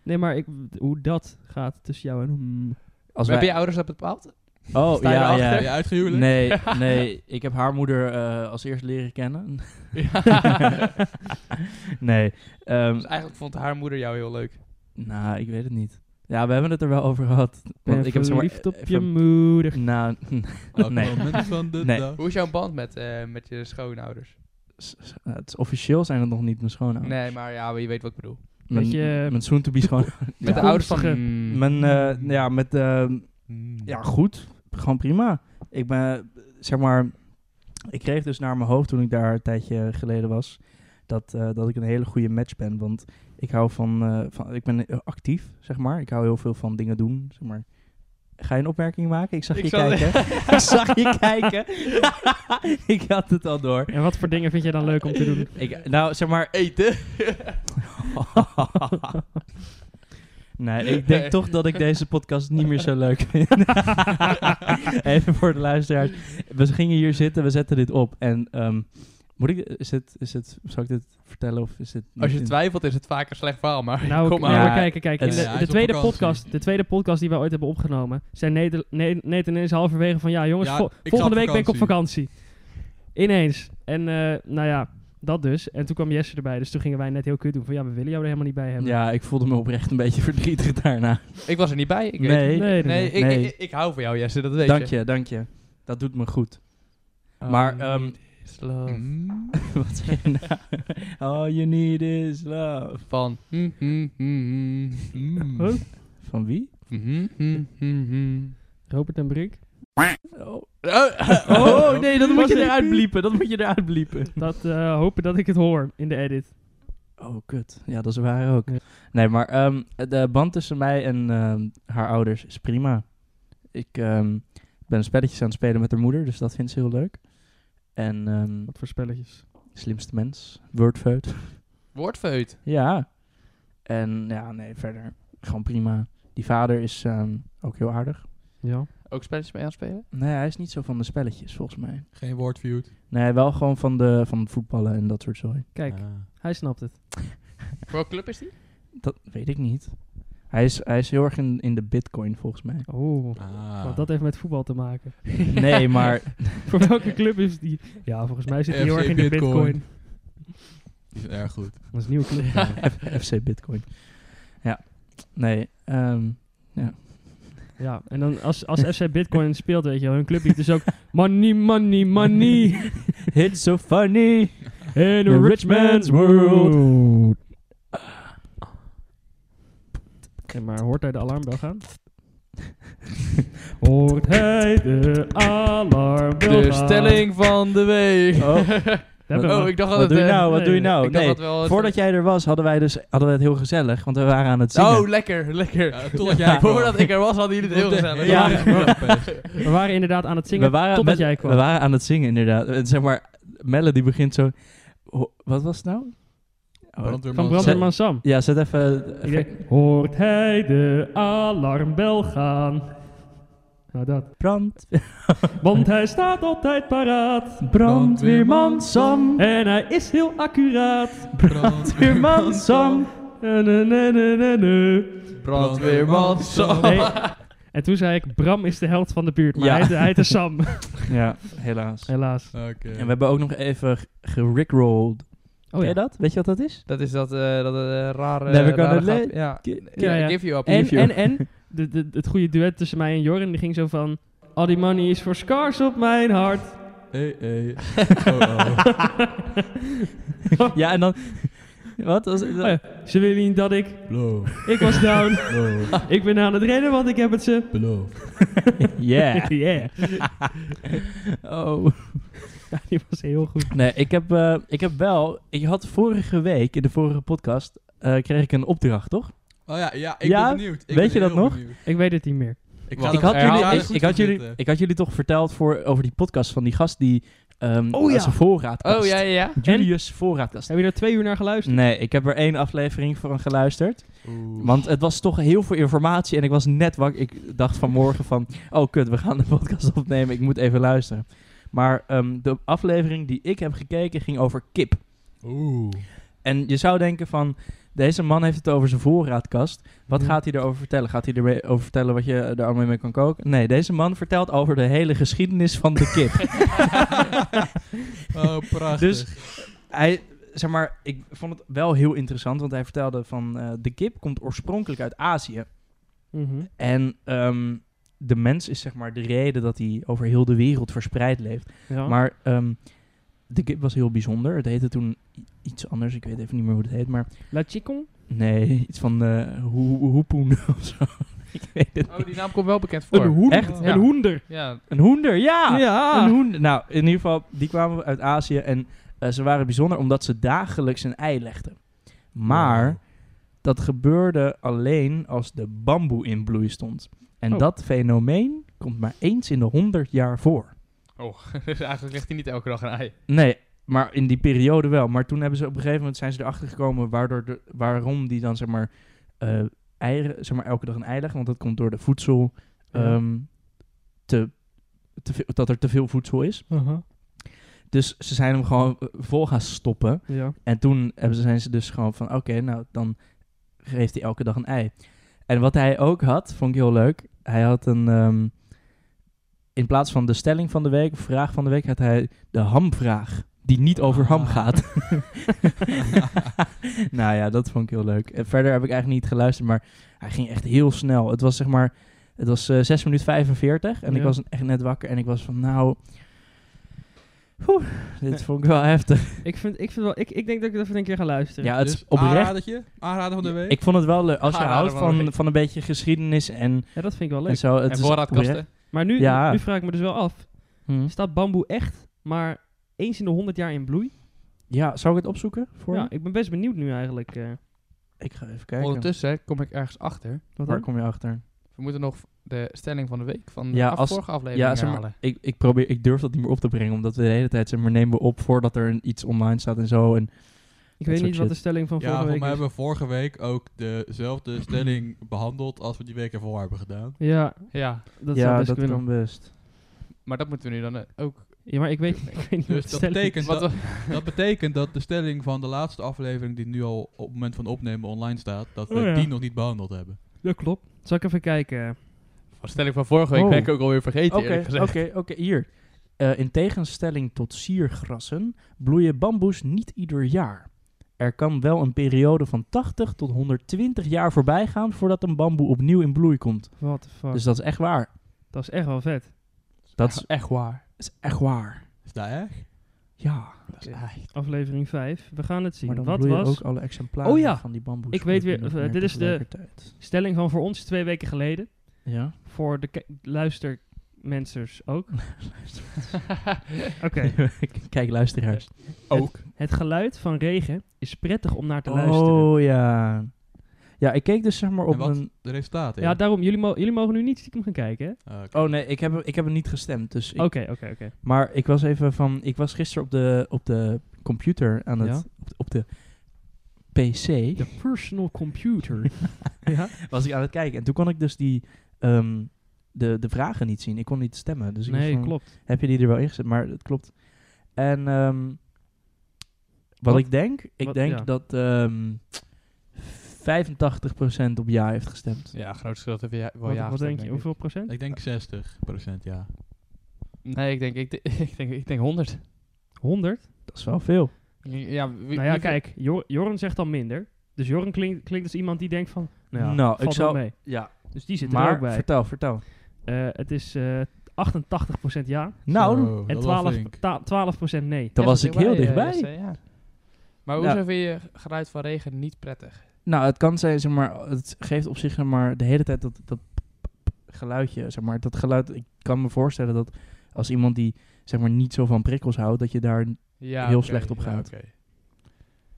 S3: Nee, maar ik, hoe dat gaat tussen jou en... Hmm.
S1: Als
S4: Hebben
S1: wij...
S4: je ouders dat (laughs) bepaald?
S1: Oh,
S4: sta je
S1: ja,
S4: erachter?
S2: Ben je
S1: ja.
S2: uitgehuwelijk?
S1: Nee,
S4: (laughs)
S1: nee, ik heb haar moeder eh, als eerst leren kennen. (laughs) nee, ehm,
S4: Dus eigenlijk vond haar moeder jou heel leuk.
S1: nou, ik weet het niet. Ja, we hebben het er wel over gehad.
S3: Ben
S1: Want ik heb zeg maar,
S3: verliefd op
S1: eh,
S3: je
S1: ver-
S3: moeder.
S1: Nou, (laughs)
S4: Oh,
S2: Elk
S1: nee.
S2: moment van de
S1: Nee.
S2: dag.
S4: Hoe is jouw band met, eh, met je schoonouders?
S1: S- s- het is officieel zijn het nog niet mijn schoonouders.
S4: Nee, maar ja, maar je weet wat ik bedoel.
S1: Mijn,
S3: Met je-
S1: mijn soon-to-be schoonouders.
S4: Met
S1: Ja.
S4: de ouders van...
S3: Toekomstige-
S4: Mm.
S1: Mijn, eh, ja, met, eh,
S2: Mm.
S1: Ja, goed. Gewoon prima. Ik ben, zeg maar, ik kreeg dus naar mijn hoofd toen ik daar een tijdje geleden was, dat, eh, dat ik een hele goede match ben. Want ik hou van, eh, van, ik ben actief, zeg maar. Ik hou heel veel van dingen doen, zeg maar. Ga je een opmerking maken? Ik zag
S4: Ik
S1: je
S4: zat-
S1: kijken. (laughs) ik zag je kijken. (laughs) ik had het al door.
S3: En wat voor dingen vind jij dan leuk om te doen?
S1: (laughs) Ik, nou, zeg maar,
S4: Eten?
S1: (laughs) nee, ik denk toch dat ik deze podcast niet meer zo leuk vind. (laughs) Even voor de luisteraars. We gingen hier zitten, we zetten dit op. En ehm, moet ik, is het, is het, zal ik dit vertellen of is het...
S4: Als je
S1: niet-
S4: twijfelt is het vaak een slecht verhaal, maar
S3: Nou,
S4: (laughs) kom
S3: nee,
S4: maar.
S1: Ja,
S3: maar kijk, kijk. In
S1: het-
S3: de,
S1: Ja, hij
S2: is
S3: de
S2: op
S3: tweede
S2: vakantie.
S3: podcast, de tweede podcast die wij ooit hebben opgenomen, zijn Neder- Ne- Nathan ineens halverwege van, ja jongens,
S2: Ja,
S3: vo-
S2: ik ga
S3: volgende
S2: op
S3: week ben ik op vakantie. Ineens. En eh, nou ja, dat dus. En toen kwam Jesse erbij, dus toen gingen wij net heel kut doen van, ja, we willen jou er helemaal niet bij hebben.
S1: Ja, ik voelde me oprecht een beetje (laughs) verdrietig daarna.
S4: Ik was er niet bij. Ik weet
S1: Nee,
S4: het.
S3: nee, nee,
S4: nee,
S1: nee.
S4: ik,
S1: Nee.
S4: Ik, ik, ik hou van jou, Jesse, dat weet
S1: dank
S4: je.
S1: je, dank je. Dat doet me goed. Maar, ehm, (laughs)
S4: Oh, is love.
S2: Mm.
S1: Wat zeg je (laughs) nou? All you need is love.
S4: Van. mm, mm, mm, mm,
S2: Mm.
S3: Huh?
S1: Van wie?
S4: mm, mm, mm, mm.
S3: Robert en Brink.
S1: Oh,
S3: (laughs) Oh, nee, dat
S1: Was
S3: moet je
S1: het?
S3: eruit bliepen. Dat moet je eruit bliepen. Dat eh, (laughs) hopen dat ik het hoor in de edit.
S1: oh, kut. Ja, dat is waar ook.
S3: Ja.
S1: Nee, maar ehm, de band tussen mij en ehm, haar ouders is prima. Ik ehm, ben spelletjes aan het spelen met haar moeder, dus dat vindt ze heel leuk. En ehm,
S3: Wat voor spelletjes.
S1: slimste mens, wordfeut.
S4: Woordfeut.
S1: (laughs) ja. En ja, nee, verder gewoon prima. Die vader is ehm, ook heel aardig.
S3: Ja.
S4: Ook spelletjes mee aan het spelen?
S1: Nee, hij is niet zo van de spelletjes, volgens mij.
S2: Geen woordviewd.
S1: Nee, wel gewoon van, de, van voetballen en dat soort zooi.
S3: Kijk,
S2: Ah.
S3: hij snapt het.
S4: Voor welke club is die?
S1: Dat weet ik niet. Hij is, hij is heel erg in, in de bitcoin volgens
S4: (laughs)
S1: mij.
S3: Oh.
S1: Ah.
S2: Ah.
S3: Want dat heeft met voetbal te maken. (laughs)
S1: Nee, maar
S3: Voor welke club is die? Ja, volgens mij zit hij heel
S2: FC
S3: erg in de
S2: Bitcoin.
S3: bitcoin.
S2: Die is erg goed.
S3: Dat is een nieuwe club.
S1: F- FC bitcoin. Ja, nee. ehm,
S3: Ja, en dan als, als FC Bitcoin speelt, weet je wel, hun clublied is dus ook money, money, money
S1: (laughs) It's so funny
S3: in a rich man's world. Oké, maar hoort hij de alarmbel gaan? (laughs) Hoort hij de alarmbel
S4: De
S3: gaan?
S4: stelling van de week.
S1: Oh.
S3: We hebben
S4: (laughs) Oh,
S3: hem.
S4: ik dacht
S1: Wat
S4: altijd...
S1: doe je
S4: eh,
S1: nou? Wat doe je
S3: nee,
S1: nou?
S4: Ik dacht
S1: Nee,
S4: dat wel... het-
S1: voordat jij er was hadden wij dus hadden we het heel gezellig, want we waren aan het zingen.
S4: Oh, lekker, lekker.
S2: Ja, totdat
S4: (laughs)
S2: jij kwam.
S4: Voordat ik er was, hadden jullie het heel gezellig.
S1: Ja.
S4: (laughs)
S3: We waren inderdaad aan het zingen
S1: we waren
S3: totdat
S1: met-
S3: jij kwam.
S1: We waren aan het zingen inderdaad. Eh, Zeg maar, Melody begint zo. Ho- wat was het nou? Oh,
S3: Van Brandweerman Sam.
S1: ja, zet even.
S3: Ik denk, hoort hij de alarmbel gaan? Nou dat.
S1: Brand,
S3: Want hij staat altijd paraat.
S1: brandweerman Sam.
S3: En hij is heel accuraat.
S1: (laughs) Brandweerman Sam.
S3: Eh, nee, nee, nee, nee, nee.
S4: Brandweerman Sam.
S3: Nee. En toen zei ik, Bram is de held van de buurt. Maar
S1: Ja.
S3: hij, heette- hij heette
S1: (laughs)
S3: Sam,
S1: Ja, helaas.
S3: helaas.
S2: Oké.
S1: En we hebben ook nog even g- gerickrolled.
S3: Oh
S1: Ken je dat? Weet je wat dat is?
S4: Dat is dat, eh dat eh, rare...
S1: Never
S4: rare
S1: gonna
S4: grap-
S1: let-
S4: Ja.
S1: Ki-
S3: Ja, ja.
S4: Give you up.
S3: En,
S4: Give you
S3: en,
S4: up.
S3: en de, de, het goede duet tussen mij en Jorren, die ging zo van... All die money is voor scars op mijn hart.
S2: Hey,
S1: (laughs)
S2: hey. Oh, oh.
S1: Ja, en dan... (laughs) Wat? Was,
S3: Oh ja, (laughs) ze willen niet dat ik...
S2: Beloof.
S3: Ik
S1: (laughs)
S3: was down.
S2: Beloof.
S3: ik ben aan het rennen, want ik heb het ze...
S2: Beloof.
S1: (laughs)
S3: (laughs)
S1: Yeah.
S3: yeah.
S1: Oh.
S3: Ja, die was heel goed.
S1: Nee, ik heb, eh, ik heb wel... Ik had vorige week, in de vorige podcast, eh, kreeg ik een opdracht, toch?
S2: Oh ja, ja, ik
S1: Ja?
S2: ben benieuwd. Ik
S1: Weet
S2: ben
S1: je dat
S2: heel
S1: nog?
S2: benieuwd.
S3: Ik weet het niet meer.
S2: Ik,
S4: Wat?
S2: ga
S1: Ik
S2: dat-
S1: had, jullie,
S4: herhaal
S2: ga er
S1: ik,
S4: eens
S2: goed
S1: ik had
S2: voor
S1: jullie,
S2: zitten.
S1: ik had jullie toch verteld voor, over die podcast van die gast die... ehm
S3: Oh ja.
S1: Zijn voorraadkast.
S4: Oh, ja, ja, ja.
S1: Julius voorraadkast.
S3: Heb je er twee uur naar geluisterd?
S1: Nee, ik heb er één aflevering van geluisterd.
S2: Oeh.
S1: Want het was toch heel veel informatie en ik was net wakker. Ik dacht vanmorgen van, oh kut, we gaan de podcast (laughs) opnemen. Ik moet even luisteren. Maar ehm, de aflevering die ik heb gekeken ging over kip.
S2: Oeh.
S1: En je zou denken van, deze man heeft het over zijn voorraadkast. Wat
S3: Ja.
S1: gaat hij erover vertellen? Gaat hij erover vertellen wat je er allemaal mee kan koken? Nee, deze man vertelt over de hele geschiedenis van de kip.
S2: Oh, prachtig.
S1: Dus- hij, zeg maar, ik vond het wel heel interessant, want hij vertelde van, eh, de kip komt oorspronkelijk uit Azië.
S3: Mhm.
S1: En ehm, de mens is zeg maar de reden dat hij over heel de wereld verspreid leeft.
S3: Ja.
S1: Maar ehm, de kip was heel bijzonder. Het heette toen i- iets anders. Ik weet even niet meer hoe het heet. Maar
S3: La Chicon?
S1: nee, (laughs) iets van eh hoe- hoe- hoepoen (laughs) of zo. Ik weet het
S4: Oh,
S1: niet.
S4: die naam komt wel bekend voor.
S1: Echt?
S4: Ja.
S3: Een hoender.
S4: Ja. (laughs)
S1: Een hoender, ja!
S3: Ja.
S1: Een hoender. Nou, in ieder geval, die kwamen uit Azië. En eh, ze waren bijzonder omdat ze dagelijks een ei legden. Maar
S2: Wow.
S1: dat gebeurde alleen als de bamboe in bloei stond. En
S3: Oh.
S1: dat fenomeen komt maar eens in de 100 jaar voor.
S4: Oh, dus eigenlijk ligt hij niet elke dag een ei.
S1: Nee, maar in die periode wel. Maar toen hebben ze op een gegeven moment zijn ze erachter gekomen waardoor de, waarom die dan zeg maar, eh, eieren, zeg maar elke dag een ei leggen. Want dat komt door de voedsel.
S3: Ja.
S1: ehm, te, te veel- dat er te veel voedsel is.
S3: Aha.
S1: Dus ze zijn hem gewoon eh, vol gaan stoppen.
S3: Ja.
S1: En toen hebben ze, zijn ze dus gewoon van, oké, nou, dan geeft hij elke dag een ei. En wat hij ook had, vond ik heel leuk. Hij had een, ehm, in plaats van de stelling van de week, of vraag van de week, had hij de hamvraag. Die niet over ham
S2: Ah.
S1: gaat.
S2: (laughs)
S1: (laughs) nou ja, dat vond ik heel leuk. En verder heb ik eigenlijk niet geluisterd, maar hij ging echt heel snel. Het was zeg maar, het was eh 6 minuten 45 en ik
S3: Ja.
S1: was echt net wakker en ik was van, nou, Dit vond ik wel heftig.
S3: Ik, vind, ik, vind wel, ik, ik denk dat ik dat even een keer ga luisteren.
S1: Ja, het is
S2: dus
S1: oprecht.
S2: aanradertje? Aanrader van de week?
S1: Ik vond het wel leuk. Als je
S4: Aanrader
S1: houdt
S4: van de
S1: van,
S4: week.
S1: van een beetje geschiedenis en,
S3: Ja, dat vind ik wel
S1: en
S3: leuk.
S1: zo. Het
S4: en
S1: is oprecht.
S4: voorraadkasten.
S3: Maar nu,
S1: Ja.
S3: nu vraag ik me dus wel af.
S1: Hm.
S3: Staat bamboe echt maar eens in de 100 jaar in bloei?
S1: Ja, zou ik het opzoeken voor
S3: Ja,
S1: je?
S3: ik ben best benieuwd nu eigenlijk. eh,
S1: Ik ga even kijken.
S4: Ondertussen kom ik ergens achter.
S3: wat
S1: Waar
S3: dan?
S1: kom je achter?
S4: We moeten nog de stelling van de week van de
S1: Ja,
S4: af-
S1: als-
S4: vorige aflevering
S1: Ja, zeg maar,
S4: halen.
S1: ik, ik, probeer, ik durf dat niet meer op te brengen, omdat we de hele tijd zeg maar, nemen we op voordat er een- iets online staat en zo. En
S3: Ik
S1: soort
S3: weet niet wat
S1: shit.
S3: de stelling van
S2: Ja,
S3: vorige
S2: voor
S3: week
S2: mij
S3: is.
S2: hebben we vorige week ook dezelfde stelling behandeld als we die week ervoor hebben gedaan.
S3: Ja,
S4: Ja,
S3: dat zou
S1: ja,
S3: best
S1: dat
S3: kunnen.
S1: kan best.
S4: maar dat moeten we nu dan eh, ook.
S3: Ja, maar ik
S2: (laughs)
S3: weet, ik weet niet wat
S2: Dus
S3: de
S2: dat
S3: stelling
S2: betekent
S4: Wat
S2: dat,
S3: (laughs)
S4: we-
S2: dat betekent dat de stelling van de laatste aflevering die nu al op het moment van opnemen online staat, dat we
S3: Oh ja.
S2: die nog niet behandeld hebben.
S3: is. Dat klopt. Zal ik even kijken?
S4: de stelling van vorige week
S1: Oh.
S4: ben ik ook alweer vergeten. eerlijk
S1: Oké,
S4: gezegd.
S1: oké, oké, hier. Eh, in tegenstelling tot siergrassen bloeien bamboes niet ieder jaar. Er kan wel een periode van 80 tot 120 jaar voorbij gaan voordat een bamboe opnieuw in bloei komt.
S3: What the fuck?
S1: Dus dat is echt waar.
S3: dat is echt wel vet.
S1: Dat is,
S4: echt waar.
S1: is echt waar.
S2: Is dat echt?
S1: Ja,
S3: Aflevering 5. We gaan het
S1: maar
S3: zien.
S1: dan
S3: Wat
S1: bloeien
S3: was
S1: ook alle exemplaren
S3: Oh ja.
S1: van die bamboes.
S3: Ik weet weer-
S1: binnen
S3: eh,
S1: meer
S3: dit is de-
S1: tegelijkertijd.
S3: stelling van voor ons twee weken geleden?
S1: Ja.
S3: Voor de ke- luistermensers
S1: (laughs)
S3: ook. Oké.
S1: K- (laughs) Kijk, luisteraars.
S2: Ook.
S3: Het geluid van regen is prettig om naar te luisteren.
S1: Oh ja. Ja, ik keek dus zeg maar op
S2: En wat?
S1: een...
S2: De resultaten.
S3: Ja, daarom. Jullie, mo- jullie mogen nu niet stiekem gaan kijken, hè?
S2: Ah, oké.
S1: Oh nee, ik heb, ik heb hem niet gestemd. Dus ik,
S3: Oké, oké, oké.
S1: Maar ik was even van... Ik was gisteren op de, op de computer aan het...
S3: Ja?
S1: Op, de, op de PC
S3: De personal computer. ja?
S1: was ik aan het kijken. En toen kon ik dus die... ehm, de, de vragen niet zien. Ik kon niet stemmen. Dus ik was
S3: Nee,
S1: van,
S3: klopt.
S1: heb je die er wel ingezet? Maar het klopt. En ehm, wat,
S3: Wat-
S1: ik denk... Ik
S3: wat-
S1: denk
S3: ja.
S1: dat... ehm 85% op ja heeft gestemd.
S4: (laughs) Ja, groot verschil dat we ja, wel
S3: Wat,
S4: ja
S3: wat
S4: gestemd,
S3: denk je?
S4: ik.
S3: Hoeveel procent?
S2: Ik denk 60% ja.
S4: Nee, ik denk, ik, de- (laughs) ik, denk, ik denk 100.
S3: 100?
S1: Dat is wel veel.
S4: Ja, wie-
S3: nou ja,
S4: wie-
S3: kijk. Jor- Jorn zegt al minder. Dus Jorn klinkt, klinkt als iemand die denkt van... Nou, ja,
S1: Nou,
S3: valt
S1: ik
S3: wel
S1: zou-
S3: mee.
S1: Ja,
S3: Dus die zit er
S1: maar
S3: ook bij.
S1: vertel, vertel.
S3: Eh, het is eh 88% ja
S1: Nou,
S2: Zo,
S1: dan-
S2: dat
S3: en
S2: was
S3: 12,
S2: flink.
S3: ta- 12% nee.
S1: dan was
S4: Echt
S1: ik heel
S4: eh,
S1: dichtbij.
S4: Jesse, ja. Maar
S1: Ja.
S4: hoezo vind je geluid van regen niet prettig?
S1: nou, het kan zijn, zeg maar, het geeft op zich zeg maar, de hele tijd dat, dat geluidje, zeg maar, dat geluid. Ik kan me voorstellen dat als iemand die zeg maar niet zo van prikkels houdt, dat je daar.
S4: Ja,
S1: Heel
S4: oké,
S1: slecht op
S4: ja,
S1: geluid.
S4: oké.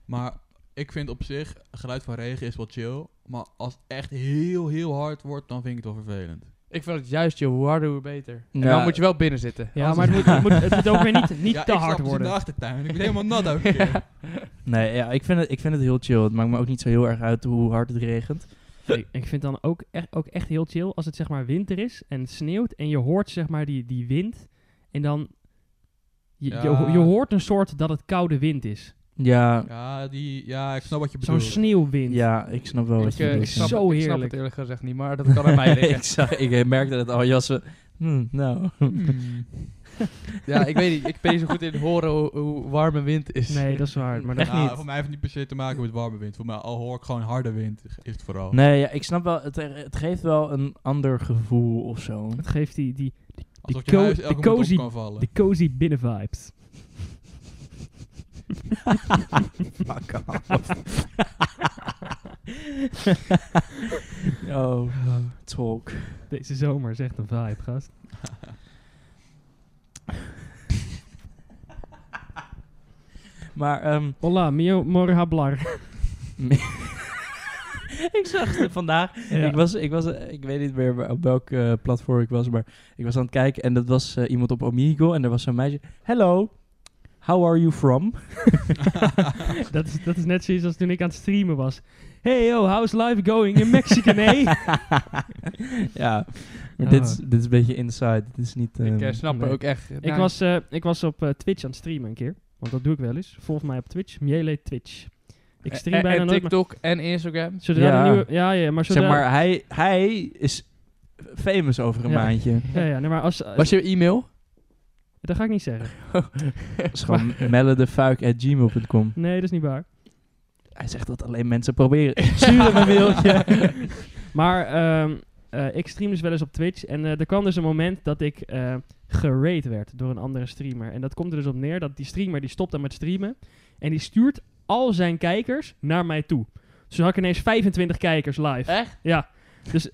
S2: Maar ik vind op zich, geluid van regen is wel chill. Maar als het echt heel, heel hard wordt, dan vind ik het wel vervelend.
S4: Ik vind het juist, joh, hoe harder hoe beter. En
S1: Ja.
S4: dan moet je wel binnen zitten.
S3: Ja, maar het moet, het moet, het moet ook weer (laughs) niet, niet
S2: Ja,
S3: Oh, te
S2: ik
S3: hard
S2: stap dus in de
S3: worden.
S2: achtertuin. Ik ben helemaal nat elke
S3: (laughs)
S2: keer.
S1: Nee, ja, ik vind, het, ik vind het heel chill. Het maakt me ook niet zo heel erg uit hoe hard het regent.
S3: Ik, ik vind dan ook echt, ook echt heel chill als het zeg maar winter is en het sneeuwt en je hoort zeg maar die, die wind. En dan, je, je, ho- je
S2: Ja.
S3: hoort een soort dat het koude wind is.
S1: Ja,
S2: Ja, die, ja, ik snap wat je
S3: Zo'n
S2: bedoelt.
S3: sneeuwwind.
S1: ja ik snap wel
S4: Ik,
S1: wat je
S4: eh, ik
S1: bedoelt.
S4: snap,
S3: Zo
S4: ik snap
S3: heerlijk.
S4: het eerlijk gezegd niet, maar (laughs) dat kan aan
S1: (laughs)
S4: mij liggen.
S1: ik, zag, ik merkte het al, jassen. Hm, nou.
S2: Hmm.
S4: ja, ik weet niet. Ik ben niet zo goed in horen hoe, hoe warme wind is.
S3: Nee,
S4: (laughs)
S3: dat is waar. Maar dat,
S1: Echt
S2: Nou,
S1: niet.
S2: Voor mij heeft het niet per se te maken met warme wind. Voor mij al hoor ik gewoon harde wind, is het vooral.
S1: Nee, ja, ik snap wel, het, het geeft wel een ander gevoel of
S4: (laughs)
S1: zo.
S3: dat geeft die, die,
S2: Alsof
S3: de
S2: je
S3: co-
S2: huis
S3: de
S2: elke minuut
S3: cozy-
S2: op kan vallen.
S3: die cozy binnen vibes.
S1: Fuck oh, talk.
S3: Deze zomer is echt een vibe, gast.
S1: Maar ehm, (laughs)
S3: Hola, mio morha blar.
S1: ik zag ze vandaag. Ik, was, ik, was, eh, ik weet niet meer waar- op welk eh, platform ik was, maar ik was aan het kijken en dat was eh, iemand op Omegle en er was zo'n meisje. Hello, how are you from?
S3: (laughs) Dat is, dat is net zoiets als toen ik aan het streamen was. Hey yo, how's life going in
S1: (laughs)
S3: Mexican, eh?
S1: ja, maar
S3: Ah.
S1: dit, is, dit is een beetje inside. Dit is niet.
S4: Oh. Ik eh,
S1: ehm,
S4: snap
S3: nee.
S4: er ook echt. nou,
S3: Ik, was, eh, ik was op eh, Twitch aan het streamen een keer. Want dat doe ik wel eens. Volg mij op Twitch. Miele Twitch. Ik stream bijna
S4: en
S3: nooit, maar
S4: TikTok en (laughs) Instagram.
S3: zodra
S1: Ja.
S3: de nieuwe... Ja, ja, maar zodra...
S1: zeg maar, hij, hij is famous over een
S3: Ja. (laughs)
S1: maandje.
S3: Ja, ja, nee, maar als... eh,
S4: Was je e-mail?
S3: Dat ga ik niet
S1: (laughs)
S3: zeggen.
S1: Dat is Dus gewoon melledefuik.gmail.com.
S3: Nee, dat is niet
S1: (laughs)
S3: waar. (laughs)
S1: Hij zegt dat alleen mensen proberen. Stuur hem een mailtje.
S3: maar ehm, eh, eh, ik stream dus wel eens op Twitch. En eh, er kwam dus een moment dat ik eh geraid werd door een andere streamer. En dat komt er dus op neer dat die streamer die stopt dan met streamen. En die stuurt al zijn kijkers naar mij toe. Dus toen had ik ineens 25 kijkers live.
S4: Echt?
S3: Ja. Dus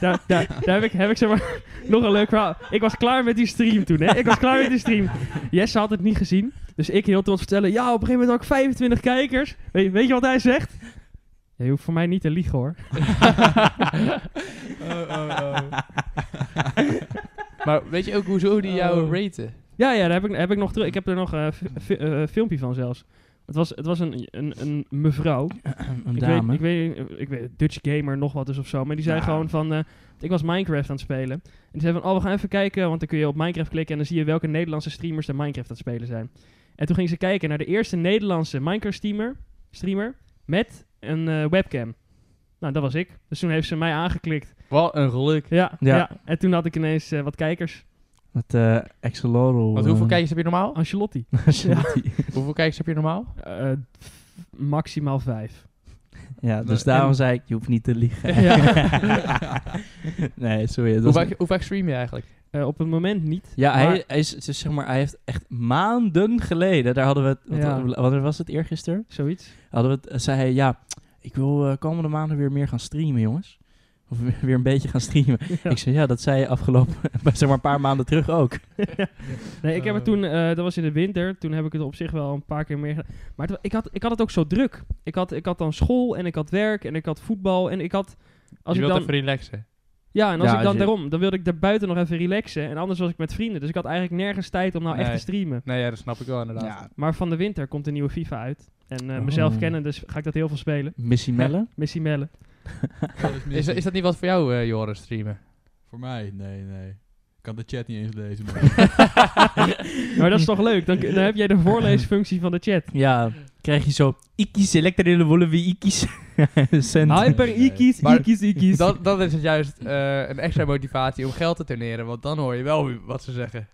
S3: daar, daar, daar heb ik, heb ik zeg maar, (laughs) nog een leuk verhaal. Ik was klaar met die stream toen, hè. Ik was klaar met die stream. Jesse had het niet gezien. Dus ik heel trots vertellen, ja, op een gegeven moment had ik 25 kijkers. Weet, weet je wat hij zegt? Ja, je hoeft voor mij niet te liegen, hoor.
S4: (laughs)
S2: (laughs)
S4: Maar weet je ook hoezo die jou
S3: Oh.
S4: raten?
S3: Ja, ja, daar heb ik, heb ik nog terug. Ik heb er nog eh, fi- fi- eh, een filmpje van zelfs. Het was, het was een, een, een mevrouw.
S1: Een
S3: Ik
S1: dame.
S3: weet, ik weet, ik weet, Dutch Gamer, nog wat dus of zo. Maar die zei
S1: Ja.
S3: gewoon van. eh, ik was Minecraft aan het spelen. En die zei van. Oh, we gaan even kijken. Want dan kun je op Minecraft klikken. En dan zie je welke Nederlandse streamers er Minecraft aan het spelen zijn. En toen ging ze kijken naar de eerste Nederlandse Minecraft streamer. streamer met een eh, webcam. Nou, dat was ik. Dus toen heeft ze mij aangeklikt.
S4: Wat een geluk.
S3: Ja, ja.
S1: Ja.
S3: En toen had ik ineens eh, wat kijkers.
S1: Met eh Axolotl.
S4: Want hoeveel
S1: (laughs)
S4: kijkers heb je normaal? (laughs)
S3: Ancelotti.
S1: kijken?
S4: Hoeveel kijkers heb je normaal?
S3: Eh, f- maximaal vijf.
S1: Ja, dus
S4: Nee,
S1: daarom
S4: en-
S1: zei ik, je hoeft niet te liegen. (laughs)
S3: (laughs)
S1: nee, sorry. dat
S4: Hoe
S1: was-
S4: vaak, hoe vaak stream je eigenlijk?
S3: Eh, op het moment niet.
S1: ja,
S3: Maar-
S1: hij, hij is, dus zeg maar, hij heeft echt maanden geleden, daar hadden we het, wat,
S3: Ja.
S1: wat was het eergisteren?
S3: Zoiets.
S1: Hadden we het, eh, zei hij, ja, ik wil eh, komende maanden weer meer gaan streamen, jongens. Of (laughs) weer- weer een beetje gaan streamen.
S3: (laughs) Ja.
S1: Ik zei, ja, dat zei je afgelopen, (laughs) zeg maar een paar maanden terug ook.
S3: Nee, ik heb
S4: Oh.
S3: het
S2: Eh.
S3: toen, eh, dat was in de winter, toen heb ik het op zich wel een paar keer meer gedaan. Maar het wa- ik, had, ik had het ook zo druk. Ik had, ik had dan school en ik had werk en ik had voetbal en ik had... Als
S4: je
S3: ik
S4: wilt
S3: dan,
S4: even relaxen.
S3: ja, en
S1: Ja,
S3: als ik
S1: als
S3: dan
S1: je-
S3: daarom, dan wilde ik daar buiten nog even relaxen. En anders was ik met vrienden, dus ik had eigenlijk nergens tijd om nou echt
S4: Nee.
S3: te streamen.
S4: Nee, ja, dat snap ik wel inderdaad.
S3: Maar van de winter komt de nieuwe FIFA uit. En eh,
S1: Oh.
S3: mezelf kennen, dus ga ik dat heel veel spelen.
S1: Missy Melle?
S3: Missy Melle.
S4: Is, is dat niet wat voor jou, eh Joris, streamen?
S2: Voor mij? Nee, nee. Ik kan de chat niet eens lezen. maar-
S3: (laughs) maar dat is toch leuk, dan, dan heb jij
S1: (laughs)
S3: de voorleesfunctie van de chat.
S1: Ja, krijg je zo, ikkie selected in de wollen wie ikkies. (laughs) Cent.
S3: Hyper Ikies,
S4: Maar
S3: Ikies, Ikies.
S4: Dan, dan is het juist eh, een extra motivatie om geld te turneren, want dan hoor je wel wat ze zeggen.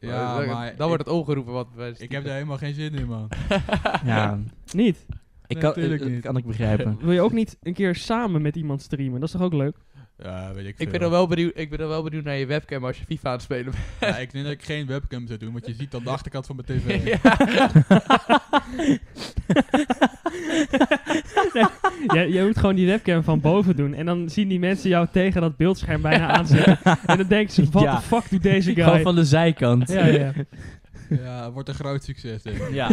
S2: ja,
S4: dan,
S2: maar
S4: dan
S2: ik,
S4: wordt het opgeroepen wat we
S2: ik heb daar helemaal geen zin in, man.
S1: (laughs) Ja,
S3: Niet.
S1: ik
S2: Nee,
S1: kan,
S2: tuurlijk
S1: eh,
S2: niet.
S1: kan ik begrijpen.
S3: Wil je ook niet een keer samen met iemand streamen? Dat is toch ook leuk?
S2: Ja, weet ik veel.
S4: Ik ben, dan wel benieuwd, ik ben dan wel benieuwd naar je webcam als je FIFA aan het spelen bent.
S2: Ja, ik denk dat ik geen webcam zou doen, want je ziet dan de achterkant van mijn tv.
S4: (laughs) Ja.
S3: Je, je moet gewoon die webcam van boven doen. En dan zien die mensen jou tegen dat beeldscherm bijna aanzetten. En dan
S1: (laughs)
S3: denken ze, wat
S1: Ja.
S3: the fuck doet deze
S1: Gewoon
S3: guy?
S1: van de zijkant.
S3: Ja, ja.
S2: Ja, het wordt een groot succes, denk ik.
S1: (laughs) Ja.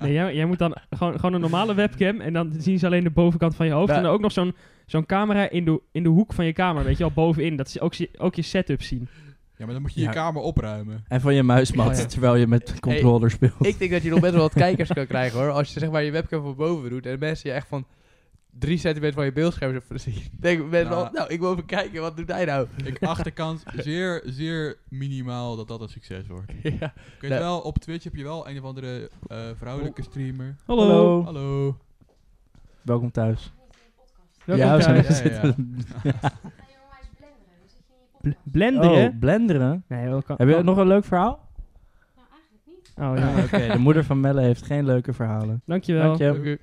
S3: Nee, jij, jij moet dan gewoon, gewoon een normale webcam. En dan zien ze alleen de bovenkant van je hoofd.
S4: Ja.
S3: En dan ook nog zo'n zo'n camera in de, in de hoek van je kamer. Weet je wel, bovenin. Dat ze ook, je- ook je setup zien.
S2: Ja, maar dan moet je
S1: Ja.
S2: je kamer opruimen.
S1: En van je muismat,
S3: Oh, ja.
S1: terwijl je met controller speelt.
S4: Ik denk dat je nog best wel wat kijkers kan krijgen hoor. Als je zeg maar je webcam van boven doet en mensen je echt van drie centimeter van je beeldscherm (laughs) zien. Denk mensen
S2: Ja.
S4: wel, nou ik wil even kijken, wat doet hij nou?
S2: Ik achterkant zeer, zeer minimaal dat dat een succes wordt.
S4: (laughs) ja.
S2: Ik weet
S4: Nou.
S2: wel, op Twitch heb je wel een of andere eh, vrouwelijke streamer.
S3: Hallo.
S1: Hallo.
S2: Hallo.
S1: Welkom thuis.
S3: Welkom
S1: ja, we zijn
S3: thuis.
S2: thuis. Ja, ja, ja.
S1: zitten-
S3: Bl- blenderen.
S1: Oh, blenderen.
S3: Nee, wel kan-
S1: Heb je nog een leuk verhaal?
S3: Oh
S1: Ah, (laughs) Oké,
S3: ja,
S1: de moeder van Melle heeft geen leuke verhalen. Dank
S3: dankjewel.
S1: je.
S4: Oké.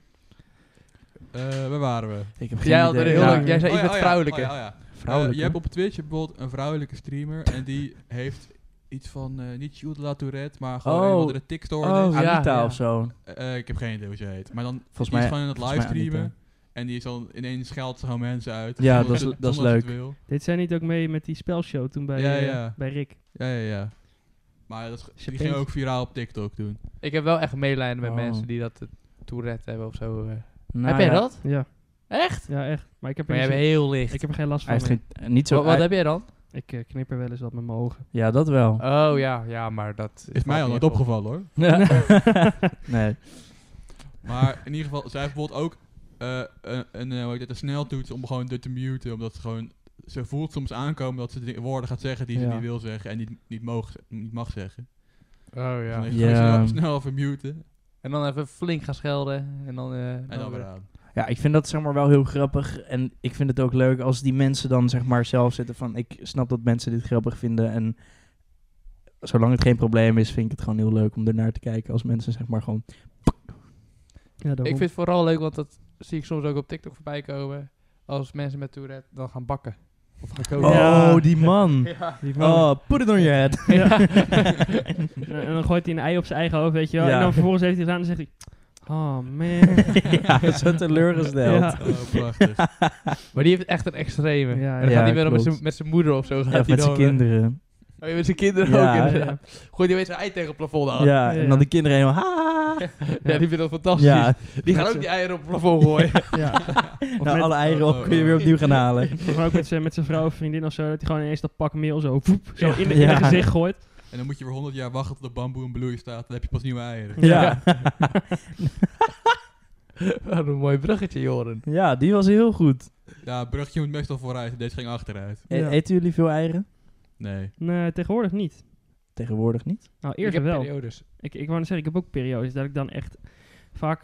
S2: Eh, waar waren we?
S1: Ik heb geen
S4: Jij had
S1: idee.
S4: er heel
S1: Ja,
S4: leuk. Jij zei
S2: Oh ja,
S4: iets met
S2: oh ja,
S4: vrouwelijke.
S2: oh ja, oh ja.
S1: vrouwelijk,
S2: Eh, je
S1: hè?
S2: hebt op Twitch je hebt bijvoorbeeld een vrouwelijke streamer en die heeft iets van, eh, niet Jules de La Tourette, maar gewoon een
S1: Oh.
S2: of andere TikToker.
S1: Oh,
S3: Ja,
S1: Anita
S3: ja.
S1: of zo.
S2: Eh, ik heb geen idee hoe ze heet. Maar dan
S1: Volgens
S2: die
S1: mij-
S2: is gewoon aan het
S1: volgens mij
S2: livestreamen.
S1: Anita.
S2: En die is dan ineens scheldt ze gewoon mensen uit.
S1: Ja,
S2: zonder
S1: dat is-
S2: ze-
S1: dat is
S2: zonder ze
S1: leuk.
S2: het wil.
S3: Dit zijn niet ook mee met die spelshow toen bij,
S2: Ja,
S3: eh,
S2: ja.
S3: bij Rick.
S2: Ja, ja, ja. Maar dat is,
S3: Ze
S2: die ging
S3: peent-
S2: ook viraal op TikTok doen.
S4: Ik heb wel echt medelijden met
S1: Oh.
S4: mensen die dat eh, Tourette hebben of zo. eh.
S1: Nou
S4: heb jij
S1: ja,
S4: dat?
S3: Ja.
S4: Echt?
S3: Ja, echt. Maar ik heb,
S4: Maar
S3: er
S4: jij bent
S3: niet-
S4: heel licht.
S3: ik heb er geen last
S1: Hij
S3: van.
S1: heeft
S3: meer.
S1: geen, eh, niet zo...
S4: Wat, wat
S1: hij-
S4: heb jij dan?
S3: Ik eh, knip er wel eens wat met mijn ogen.
S1: Ja, dat wel.
S4: Oh ja, ja, maar dat
S2: Is mij al nooit opgevallen hoor.
S1: (laughs) nee.
S2: Maar in ieder geval, zij heeft bijvoorbeeld ook eh, een, een, eh, hoe heet het, een sneltoets om gewoon dit te muten. Omdat ze gewoon, ze voelt soms aankomen dat ze dingen- woorden gaat zeggen die ze
S1: Ja.
S2: niet wil zeggen. En niet, niet, moog, niet mag zeggen.
S4: Oh
S2: Ja.
S4: ja.
S2: Dus dan heeft ze
S1: Ja.
S2: gewoon snel, snel even muten.
S4: En dan even flink gaan schelden en dan. eh,
S2: En dan weer aan.
S1: Ja, ik vind dat zeg maar wel heel grappig. En ik vind het ook leuk als die mensen dan zeg maar zelf zitten van... Ik snap dat mensen dit grappig vinden en... Zolang het geen probleem is, vind ik het gewoon heel leuk om ernaar te kijken. Als mensen zeg maar gewoon...
S3: Ja,
S4: Ik vind het vooral leuk, want dat zie ik soms ook op TikTok voorbij komen. als mensen met Tourette dan gaan bakken. Of gaan koken.
S1: Oh,
S3: Ja.
S1: die man.
S4: Ja.
S3: Die man.
S1: Oh, put it on your head. (laughs)
S3: Ja. en en dan gooit hij een ei op zijn eigen hoofd, weet je wel.
S1: Ja.
S3: En dan vervolgens heeft hij het gedaan en dan zegt hij... Oh
S1: (laughs)
S3: man.
S1: ja, zo teleurgesteld.
S3: Ja.
S1: (laughs)
S2: Oh, prachtig.
S4: Maar die heeft echt een extreme.
S3: Ja,
S1: ja.
S4: En dan gaat
S1: Ja,
S4: hij weer met
S1: klopt.
S4: zijn- met zijn moeder of zo. Gaat
S1: Ja,
S4: hij
S1: met
S4: dan,
S1: zijn kinderen.
S4: eh, oh, ja, met zijn kinderen
S1: Ja,
S4: ook.
S3: ja.
S4: inderdaad. Gooit hij weer zijn ei tegen het plafond aan. Ja,
S1: Oh, Ja, en dan de kinderen helemaal... "Ha."
S4: die vindt dat fantastisch.
S1: Ja,
S4: Die gaan ook die eieren op het plafond gooien.
S3: Ja. Of
S1: nou,
S3: met-
S1: alle eieren op kun je weer opnieuw gaan halen. (laughs)
S3: Volgens mij ook met zijn, met zijn vrouw of vriendin of zo, dat hij gewoon ineens dat pak meel zo, voep, zo in, in
S1: Ja.
S3: het gezicht gooit.
S2: En dan moet je weer 100 jaar wachten tot de bamboe en bloei staat. Dan heb je pas nieuwe eieren.
S1: Ja.
S4: Wat een mooi bruggetje, Joren.
S1: ja, die was heel goed.
S2: Ja, het bruggetje moet meestal vooruit. Deze ging achteruit.
S1: E-
S3: Ja.
S1: Eten jullie veel eieren?
S2: Nee.
S3: Nee, tegenwoordig niet.
S1: Tegenwoordig niet.
S3: Nou,
S4: Ik
S3: eerst
S4: heb
S3: wel.
S4: periodes.
S3: Ik, ik wou net zeggen, ik heb ook periodes dat ik dan echt vaak...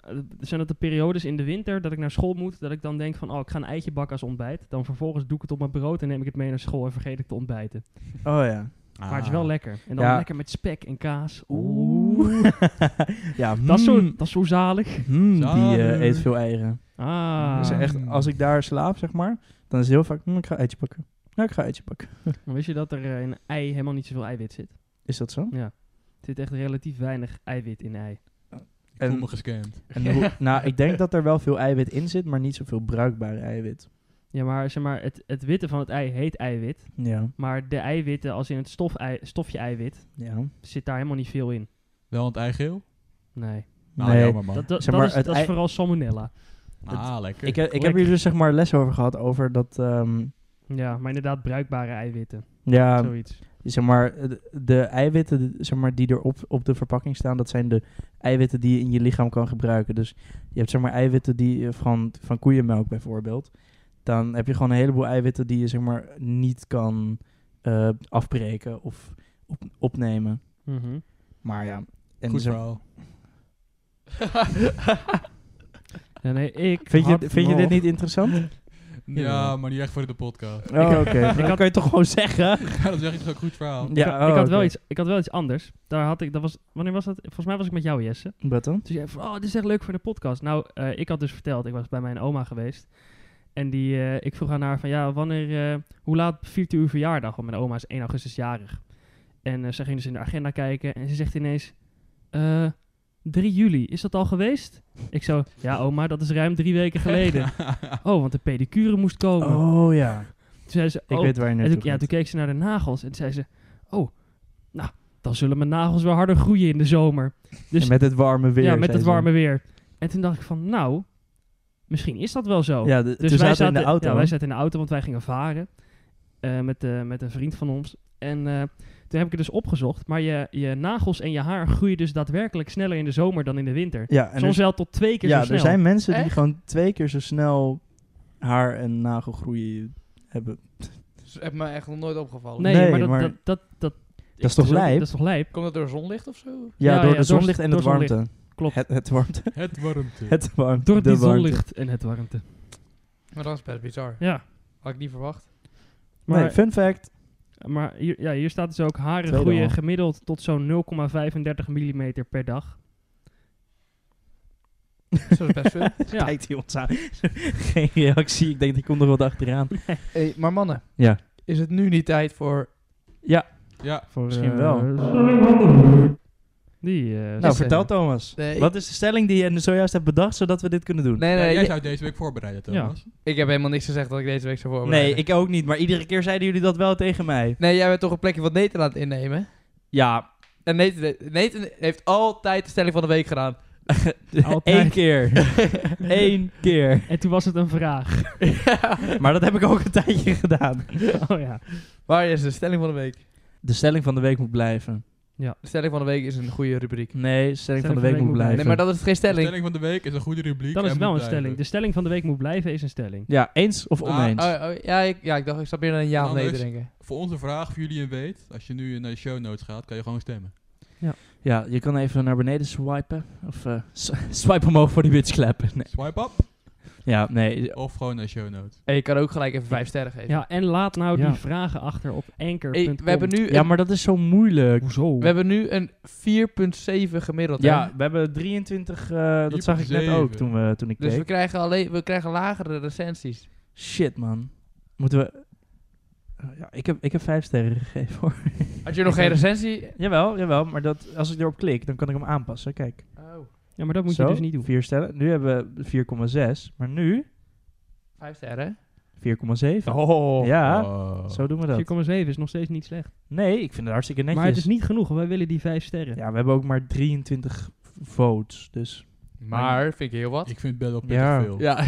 S3: eh, Zijn dat de periodes in de winter dat ik naar school moet, dat ik dan denk van, oh, ik ga een eitje bakken als ontbijt. Dan vervolgens doe ik het op mijn brood en neem ik het mee naar school en vergeet ik te ontbijten.
S1: Oh ja.
S3: Maar het is wel lekker. En dan
S1: Ja.
S3: lekker met spek en kaas. Oeh.
S1: Oeh. (laughs) ja,
S3: Dat is, zo,
S1: mm,
S3: dat is zo zalig.
S1: mm, die eh,
S2: Zalig.
S1: eet veel eieren.
S3: Ah,
S1: Dus echt, als ik daar slaap, zeg maar, dan is het heel vaak... "Mm, ik ga eitje pakken. Ja, ik ga eitje pakken.
S3: Maar wist je dat er eh, in ei helemaal niet zoveel eiwit zit?
S1: Is dat zo?
S3: Ja. Er zit echt relatief weinig eiwit in ei.
S2: Ik voel
S1: En-
S2: me gescamd.
S1: En (laughs) hoe- nou, ik denk dat er wel veel eiwit in zit, maar niet zoveel bruikbare eiwit.
S3: Ja, maar zeg maar, het, het witte van het ei heet eiwit.
S1: Ja.
S3: Maar de eiwitten, als in het stof ei- stofje eiwit,
S1: ja.
S3: zit daar helemaal niet veel in.
S2: Wel het eigeel?
S3: Nee.
S2: Nou,
S1: Nee.
S2: jammer man.
S3: Dat, dat,
S1: Zeg
S3: dat
S1: maar,
S3: is,
S1: het
S3: dat is
S1: ei-
S3: vooral salmonella.
S2: ah, lekker.
S1: Ik, heb- ik heb hier dus zeg maar les over gehad, over dat... ehm,
S3: Ja, maar inderdaad bruikbare eiwitten.
S1: ja,
S3: Zoiets.
S1: zeg maar, eh, de, de eiwitten zeg maar, die er op, op de verpakking staan, dat zijn de eiwitten die je in je lichaam kan gebruiken. Dus je hebt zeg maar eiwitten die eh, van, van koeienmelk bijvoorbeeld. Dan heb je gewoon een heleboel eiwitten die je zeg maar niet kan eh, afbreken of op- opnemen.
S3: Mhm.
S1: Maar ja, en
S2: Goed
S1: zeg-
S2: verhaal.
S3: Ja, nee, ik
S1: vind,
S3: had
S1: je, vind je
S3: nog-
S1: dit niet interessant?
S2: Ja, maar niet echt voor de podcast. (laughs)
S1: Oh, oké.
S3: Ik
S1: Dan
S3: had-
S1: kan je toch gewoon zeggen?
S2: Ja, dat zeg ik toch ook goed verhaal.
S3: Ik,
S1: Ja,
S3: had,
S1: oh,
S3: ik, had wel
S1: oké.
S3: iets, ik had wel iets anders. Daar had ik, dat was, wanneer was dat? Volgens mij was ik met jou, Jesse.
S1: Wat dan?
S3: Toen zei hij van, oh, dit is echt leuk voor de podcast. Nou, eh, ik had dus verteld, ik was bij mijn oma geweest. En die, eh, ik vroeg aan haar van, ja, wanneer, eh, hoe laat viert u uw verjaardag? Want mijn oma is 1 augustus jarig. En eh, ze ging dus in de agenda kijken en ze zegt ineens, eh, 3 juli, is dat al geweest? Ik zo, ja oma, dat is ruim drie
S1: (laughs)
S3: weken geleden.
S2: (laughs)
S3: oh, want de pedicure moest komen.
S1: Oh ja,
S3: Toen zei ze,
S1: ik
S3: "Oh."
S1: weet waar je
S3: en
S1: naartoe
S3: toen, ja,
S1: gaat.
S3: toen keek ze naar de nagels en toen zei ze, oh, nou, dan zullen mijn nagels wel harder groeien in de zomer. dus-
S1: En met het warme weer.
S3: Ja, met
S1: zei
S3: het
S1: ze.
S3: warme weer. En toen dacht ik van, nou, misschien is dat wel zo.
S1: Ja, de- toen zaten we in de auto.
S3: Ja, Dus wij zaten in de auto, want wij gingen varen eh, met, eh, met een vriend van ons. En eh, toen heb ik het dus opgezocht. Maar je, je nagels en je haar groeien dus daadwerkelijk sneller in de zomer dan in de winter.
S1: ja, en er
S3: Soms wel tot twee keer
S1: ja,
S3: zo snel.
S1: er zijn mensen die
S4: Echt?
S1: gewoon twee keer zo snel haar en nagelgroei hebben.
S4: Dat heb me echt nog nooit opgevallen.
S3: nee,
S1: Nee,
S3: maar, dat,
S1: maar-
S3: dat, dat, dat,
S1: is toch
S3: ook-
S1: lijp?
S3: Dat is toch lijp?
S4: Komt dat door zonlicht of zo?
S1: Ja,
S3: Ja,
S1: door
S3: ja,
S1: de
S3: door
S1: zonlicht
S3: s-
S1: en
S3: door
S1: het warmte.
S3: Klopt.
S1: Het, het warmte. (laughs)
S2: Het warmte.
S1: Het warmte.
S3: Door
S1: de
S3: die
S1: warmte.
S3: zonlicht en het warmte.
S4: Maar dat is best bizar.
S3: Ja,
S4: Had ik niet verwacht.
S3: maar,
S1: nee, fun fact.
S3: maar hier, ja, hier staat dus ook haren
S1: Tweede
S3: groeien
S1: al.
S3: gemiddeld tot zo'n 0,35 mm per
S1: (laughs)
S3: dag.
S4: Dus dat is best veel.
S3: Ja.
S1: Kijkt hij ons aan. (laughs) Geen reactie. Ik denk, die komt er wat achteraan.
S4: Hey, maar mannen.
S1: Ja.
S4: Is het nu niet tijd voor...
S2: Ja,
S3: Voor,
S1: Misschien
S3: eh,
S1: wel.
S3: Die, eh,
S1: Nou,
S4: Nou,
S1: vertel
S4: vertel,
S1: Thomas.
S4: Nee, ik-
S1: Wat is de stelling die je zojuist hebt bedacht, zodat we dit kunnen doen?
S4: Nee,
S2: Ja,
S4: nee,
S2: jij
S4: je-
S2: zou deze week voorbereiden,
S3: Ja.
S2: Thomas.
S4: ik heb helemaal niks gezegd dat ik deze week zou
S1: nee
S4: voorbereiden.
S1: ik ook niet. Maar iedere keer zeiden jullie dat wel tegen mij.
S4: Nee, jij bent toch een plekje van Nathan aan het innemen?
S1: Ja,
S4: En Nathan, Nathan heeft altijd de stelling van de week gedaan.
S1: één
S3: Altijd.
S1: keer. Eén keer.
S3: en toen was het een
S1: (laughs)
S3: vraag.
S1: Maar dat heb ik ook een tijdje gedaan.
S3: oh ja.
S4: Waar is de stelling van de week?
S1: De stelling van de week moet blijven.
S4: De stelling van de week is een goede rubriek.
S1: Nee, stelling, van de week, moet blijven.
S4: Nee, maar dat is geen
S2: De
S4: stelling.
S2: stelling van de week is een goede rubriek.
S3: Dat is
S2: en
S3: wel
S2: moet
S3: een stelling. dus- De
S2: blijven.
S3: stelling van de week moet blijven is een stelling.
S1: Ja, eens of
S2: Ah,
S1: oneens.
S4: Oh, oh, ja, ik, ja, ik dacht, ik zat meer aan een ja of nee te
S2: Anders.
S4: denken.
S2: Voor onze vraag, voor jullie een weet, als je nu naar de show notes gaat, kan je gewoon stemmen.
S1: ja, je (laughs) kan even naar beneden swipen. Of eh, s- swipe omhoog voor die bitch clap. Nee.
S2: Swipe up.
S1: Ja, nee.
S2: Of gewoon een show note.
S4: En je kan ook gelijk even vijf sterren geven.
S3: Ja, en laat nou
S1: Ja.
S3: die vragen achter op
S4: Hey,
S3: anchor.com.
S4: we hebben nu
S1: Ja,
S4: een,
S1: maar dat is zo moeilijk.
S3: Hoezo?
S4: we hebben nu een 4,7 gemiddeld. hè?
S1: Ja, we hebben 23, eh, dat zag ik net
S2: 4,7.
S1: ook toen, we, toen ik
S4: Dus we
S1: keek.
S4: krijgen, alleen, we krijgen lagere recensies.
S1: Shit, man. Moeten we... Ja, ik, heb, ik heb vijf sterren gegeven, hoor.
S4: Had je nog geen recensie?
S1: (laughs) jawel, jawel. Maar dat, als ik erop klik, dan kan ik hem aanpassen. Kijk.
S4: Oh,
S3: Ja, maar dat moet
S1: Zo,
S3: je dus niet doen.
S1: Vier sterren. Nu hebben we 4,6. Maar nu
S4: 5 sterren.
S1: 4,7.
S4: Oh.
S1: Ja,
S2: Oh.
S1: zo doen we dat.
S3: 4,7 is nog steeds niet slecht.
S1: Nee, ik vind het hartstikke netjes.
S3: Maar het is niet genoeg. Wij willen die 5 sterren.
S1: Ja, we hebben ook maar 23 votes. Dus
S4: Maar vind ik heel wat.
S2: Ik vind het best wel pittig
S1: Ja.
S2: veel.
S4: Ja,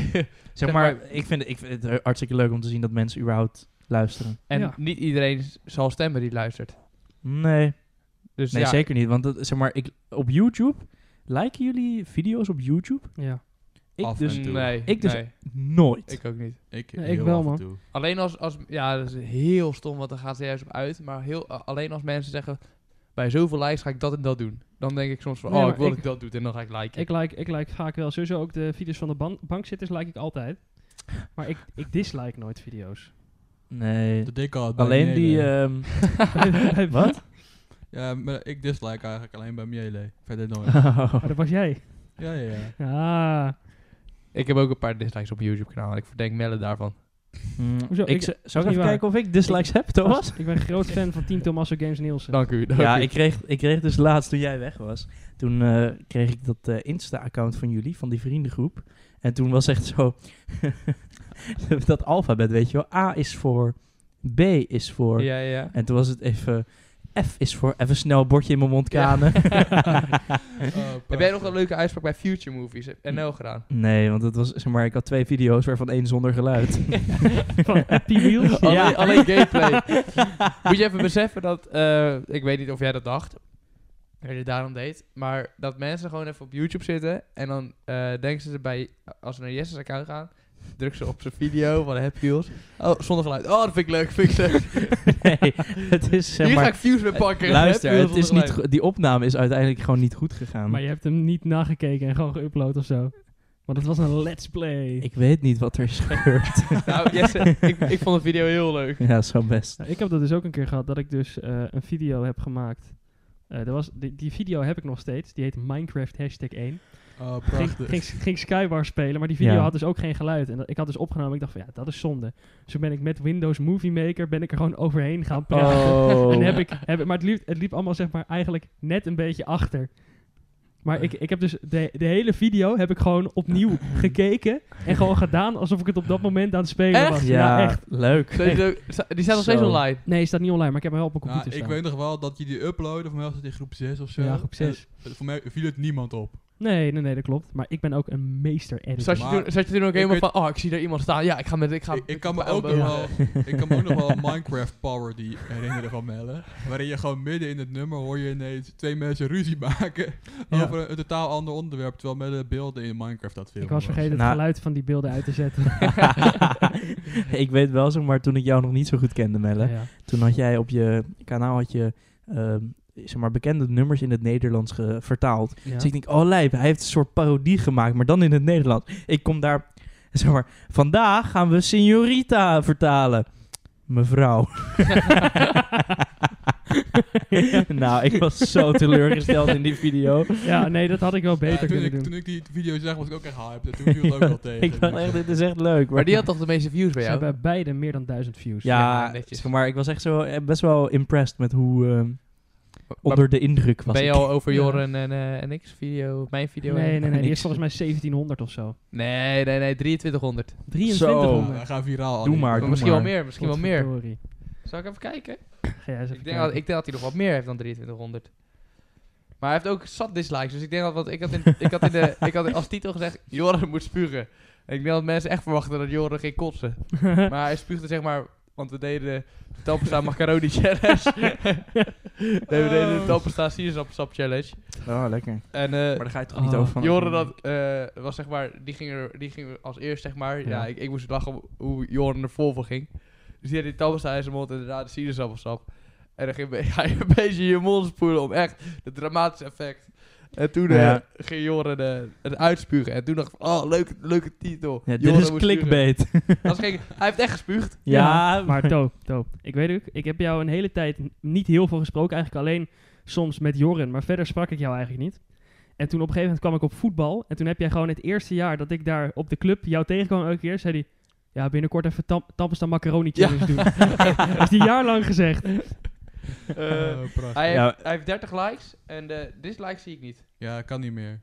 S1: zeg maar, ik, vind, ik vind het hartstikke leuk om te zien dat mensen überhaupt luisteren.
S4: en
S3: Ja.
S4: niet iedereen s- zal stemmen die luistert.
S1: Nee,
S4: Dus
S1: nee
S4: ja,
S1: zeker niet. Want dat, zeg maar, ik, op YouTube, liken jullie video's op YouTube?
S3: Ja.
S1: Ik
S2: Af en
S1: dus
S2: toe.
S4: Nee,
S1: Ik dus-
S4: nee,
S1: nooit.
S4: ik ook niet.
S2: Ik,
S3: Ja, ik
S2: heel
S3: wel,
S2: af en
S3: man.
S2: toe.
S4: Alleen als, als ja, dat is heel stom, want daar gaat ze juist op uit. Maar heel, a- alleen als mensen zeggen, bij zoveel likes ga ik dat en dat doen. Dan denk ik soms van,
S3: Nee,
S4: oh,
S3: maar
S4: ik wil
S3: ik-
S4: dat ik dat doe en dan ga ik liken.
S3: Ik like, ik like vaak wel. Sowieso ook de video's van de ban bankzitters like ik altijd. Maar ik, ik dislike nooit
S4: (laughs)
S3: video's. (laughs)
S1: Nee.
S2: Dat deed ik al bij
S1: Alleen die...
S2: Miele.
S1: ehm, Wat?
S2: Ja, maar ik dislike eigenlijk alleen bij Miele.
S1: (laughs)
S2: Verder nooit.
S1: Oh.
S3: (laughs) Maar dat was jij.
S2: ja, ja, ja.
S3: Ah.
S4: Ik heb ook een paar dislikes op mijn YouTube-kanaal. en Ik verdenk Melle daarvan.
S1: Mm,
S3: Hoezo?
S1: ik,
S3: Ik-
S1: z-
S3: dat is
S1: zou ik
S3: niet
S1: even
S3: waar.
S1: kijken of ik dislikes heb, Thomas?
S3: Ik ben groot fan van Team Tommaso Games Nielsen.
S4: Dank u. dank
S1: Ja,
S4: u.
S1: ik kreeg, ik kreeg dus laatst toen jij weg was. Toen eh, kreeg ik dat eh, Insta-account van jullie, van die vriendengroep. En toen was echt zo. (laughs) dat alfabet, weet je wel. A is voor. B is voor.
S4: Ja, ja.
S1: En toen was het even. F is voor. Even snel een bordje in mijn mond kanen.
S2: Oh,
S4: Heb jij nog een leuke uitspraak bij Future Movies?
S1: Hm.
S4: NL
S1: (laughs)
S4: gedaan.
S1: nee, want het was. Zeg maar, ik had twee video's waarvan één zonder geluid.
S3: Van Happy Wheels.
S1: Ja.
S4: Alleen, alleen
S1: (laughs)
S4: gameplay. Moet je even beseffen dat, eh, ik weet niet of jij dat dacht, dat je het daarom deed, maar dat mensen gewoon even op YouTube zitten en dan eh, denken ze bij, als ze naar Jesse's account gaan, drukken ze op zijn video van Happy Wheels. Oh, zonder geluid. Oh, dat vind ik leuk, vind ik leuk.
S1: (laughs) nee, het is. Zeg
S4: Hier ga
S1: maar, eh,
S4: ik views mee pakken.
S1: luister,
S4: Happy Wheels
S1: het is
S4: zonder
S1: niet,
S4: geluid.
S1: go- die opname is uiteindelijk gewoon niet goed gegaan.
S3: Maar je hebt hem niet nagekeken en gewoon geüpload of zo. Want het was een let's play.
S1: Ik weet niet wat
S3: (laughs)
S1: er is gebeurd.
S4: Nou, Jesse, ik, ik vond de video heel
S1: (laughs)
S4: leuk.
S1: ja, zo best.
S3: Nou, ik heb dat dus ook een keer gehad, dat ik dus eh, een video heb gemaakt. Eh, er was, die, die video heb ik nog steeds. Die heet Minecraft hashtag 1.
S2: Oh,
S3: Ging,
S2: prachtig.
S3: ging, ging Skybar spelen, maar die video
S1: Ja.
S3: had dus ook geen geluid. En dat- ik had dus opgenomen, ik dacht van ja, dat is zonde. Dus toen ben ik met Windows Movie Maker ben ik er gewoon overheen gaan praten.
S1: Oh.
S3: (laughs) En heb ik, heb, ik- maar het liep, het liep allemaal zeg maar eigenlijk net een beetje achter. Maar ik, ik heb dus de, de hele video heb ik gewoon
S1: (laughs)
S3: opnieuw gekeken. En gewoon gedaan alsof ik het op dat moment aan het spelen
S4: Echt?
S3: was.
S1: ja,
S3: nou echt.
S1: leuk.
S4: Zo- zo- sta- Die staat nog steeds
S1: Zo.
S4: online.
S3: Nee, het staat niet online, maar ik heb hem wel op mijn
S2: Nou,
S3: computer
S2: ik
S3: staan.
S2: weet eh, nog wel dat je die uploadde, voor mij was het in groep 6 of zo.
S3: Ja, groep
S2: En
S3: 6.
S2: het- voor mij viel het niemand op.
S3: Nee, nee, nee, dat klopt. Maar ik ben ook een meester editor.
S4: Zat je,
S2: Maar-
S4: toen, zat je toen ook
S2: Ik
S4: helemaal
S2: weet-
S4: van, oh, ik zie daar iemand staan. Ja, ik ga met... Ik, ga
S2: Ik, ik kan me
S4: met-
S2: ook nog
S4: Ja.
S2: wel, ik kan me ook nog wel Minecraft parody herinneren van Melle. Waarin je gewoon midden in het nummer hoor je ineens twee mensen ruzie maken
S3: Ja.
S2: over een, een totaal ander onderwerp. Terwijl Melle beelden in Minecraft dat film
S3: Ik was vergeten het
S1: Nou-
S3: geluid van die beelden uit te
S1: (laughs)
S3: zetten.
S1: (laughs) ik weet wel, zeg maar, toen ik jou nog niet zo goed kende, Melle.
S3: Ja.
S1: Toen had jij op je kanaal had je, ehm, zeg maar, bekende nummers in het Nederlands ge- vertaald.
S3: Ja.
S1: Dus ik denk, oh lijp, hij heeft een soort parodie gemaakt, maar dan in het Nederlands. Ik kom daar, (laughs) zeg maar, vandaag gaan we Signorita vertalen. Mevrouw. nou, ik was zo teleurgesteld in die
S3: (laughs)
S1: video. (laughs)
S3: Ja, nee, dat had ik wel beter
S2: Ja, toen,
S3: kunnen
S2: ik,
S3: doen.
S2: toen ik die video zag was ik ook echt hyped. En toen viel het ook
S3: (laughs)
S2: wel tegen.
S1: ik dacht echt, dit is echt leuk.
S4: Maar die had toch de meeste views bij
S3: Ze
S4: jou?
S3: hebben beide meer dan duizend views.
S1: Ja,
S4: Ja, netjes.
S1: zeg maar ik was echt zo eh, best wel impressed met hoe ehm,
S4: Maar-
S1: onder de indruk was.
S4: ben je
S1: ik.
S4: al over
S3: Ja.
S4: Joren en, eh, en ik video, mijn video?
S3: Nee, nee, nee. Die
S1: Niks.
S3: is volgens mij 1700 of zo.
S4: nee, nee, nee, 2300.
S3: 2300.
S2: we gaan viraal.
S1: Doe
S2: Annie.
S1: maar, doe
S4: misschien
S1: maar.
S4: wel meer, misschien wel meer.
S3: Potverdorie.
S4: Zal ik even kijken?
S3: (laughs) Ga jij eens Dus even
S4: Ik denk,
S3: kijken.
S4: dat, ik denk dat hij nog wat meer heeft dan 2300. Maar hij heeft ook zat dislikes, dus ik denk dat, want ik had, in, ik had, in de, ik had als titel gezegd, Joren moet spugen. En ik denk dat mensen echt verwachten dat Joren ging
S3: (laughs)
S4: kotsen. Maar hij spuugde zeg maar, want we deden de Talpesta macaroni
S3: (laughs)
S4: challenge. nee, we deden
S3: Oh.
S4: de Talpesta sinaasappelsap challenge.
S1: Oh, lekker.
S4: En eh,
S1: Maar daar ga je toch
S3: Ah.
S1: niet over van.
S4: Joren dat, eh, was zeg maar, die ging, er, die ging er als eerst zeg maar. Ja,
S1: Ja.
S4: ik, ik moest lachen om hoe Joren er vol voor ging. Dus die had die tabbesta in zijn mond en daarna de (laughs) sinaasappelsap. En dan ging hij een beetje in je mond spoelen om echt het dramatische effect. En toen
S1: Ja.
S4: eh, ging Joren eh, het uitspugen. En toen dacht ik, van, oh, leuke, leuke titel.
S1: Ja, dit
S4: Joren
S1: is
S4: moet
S1: clickbait. (laughs)
S4: spugen. Dat is geen- hij heeft echt gespuugd.
S1: ja,
S4: (laughs)
S3: Maar To, To, ik weet ook, ik heb jou een hele tijd n- niet heel veel gesproken. Eigenlijk alleen soms met Joren, maar verder sprak ik jou eigenlijk niet. En toen op een gegeven moment kwam ik op voetbal. En toen heb jij gewoon het eerste jaar dat ik daar op de club jou tegenkwam elke keer, zei hij... Ja, binnenkort even tam tampesta macaroni challenge doen. (laughs) dat is die jaar lang
S4: (laughs)
S3: gezegd.
S4: Eh,
S2: Oh, prachtig.
S4: hij,
S1: Ja.
S4: heeft, hij heeft 30 likes en de dislikes zie ik niet.
S2: Ja, kan niet meer.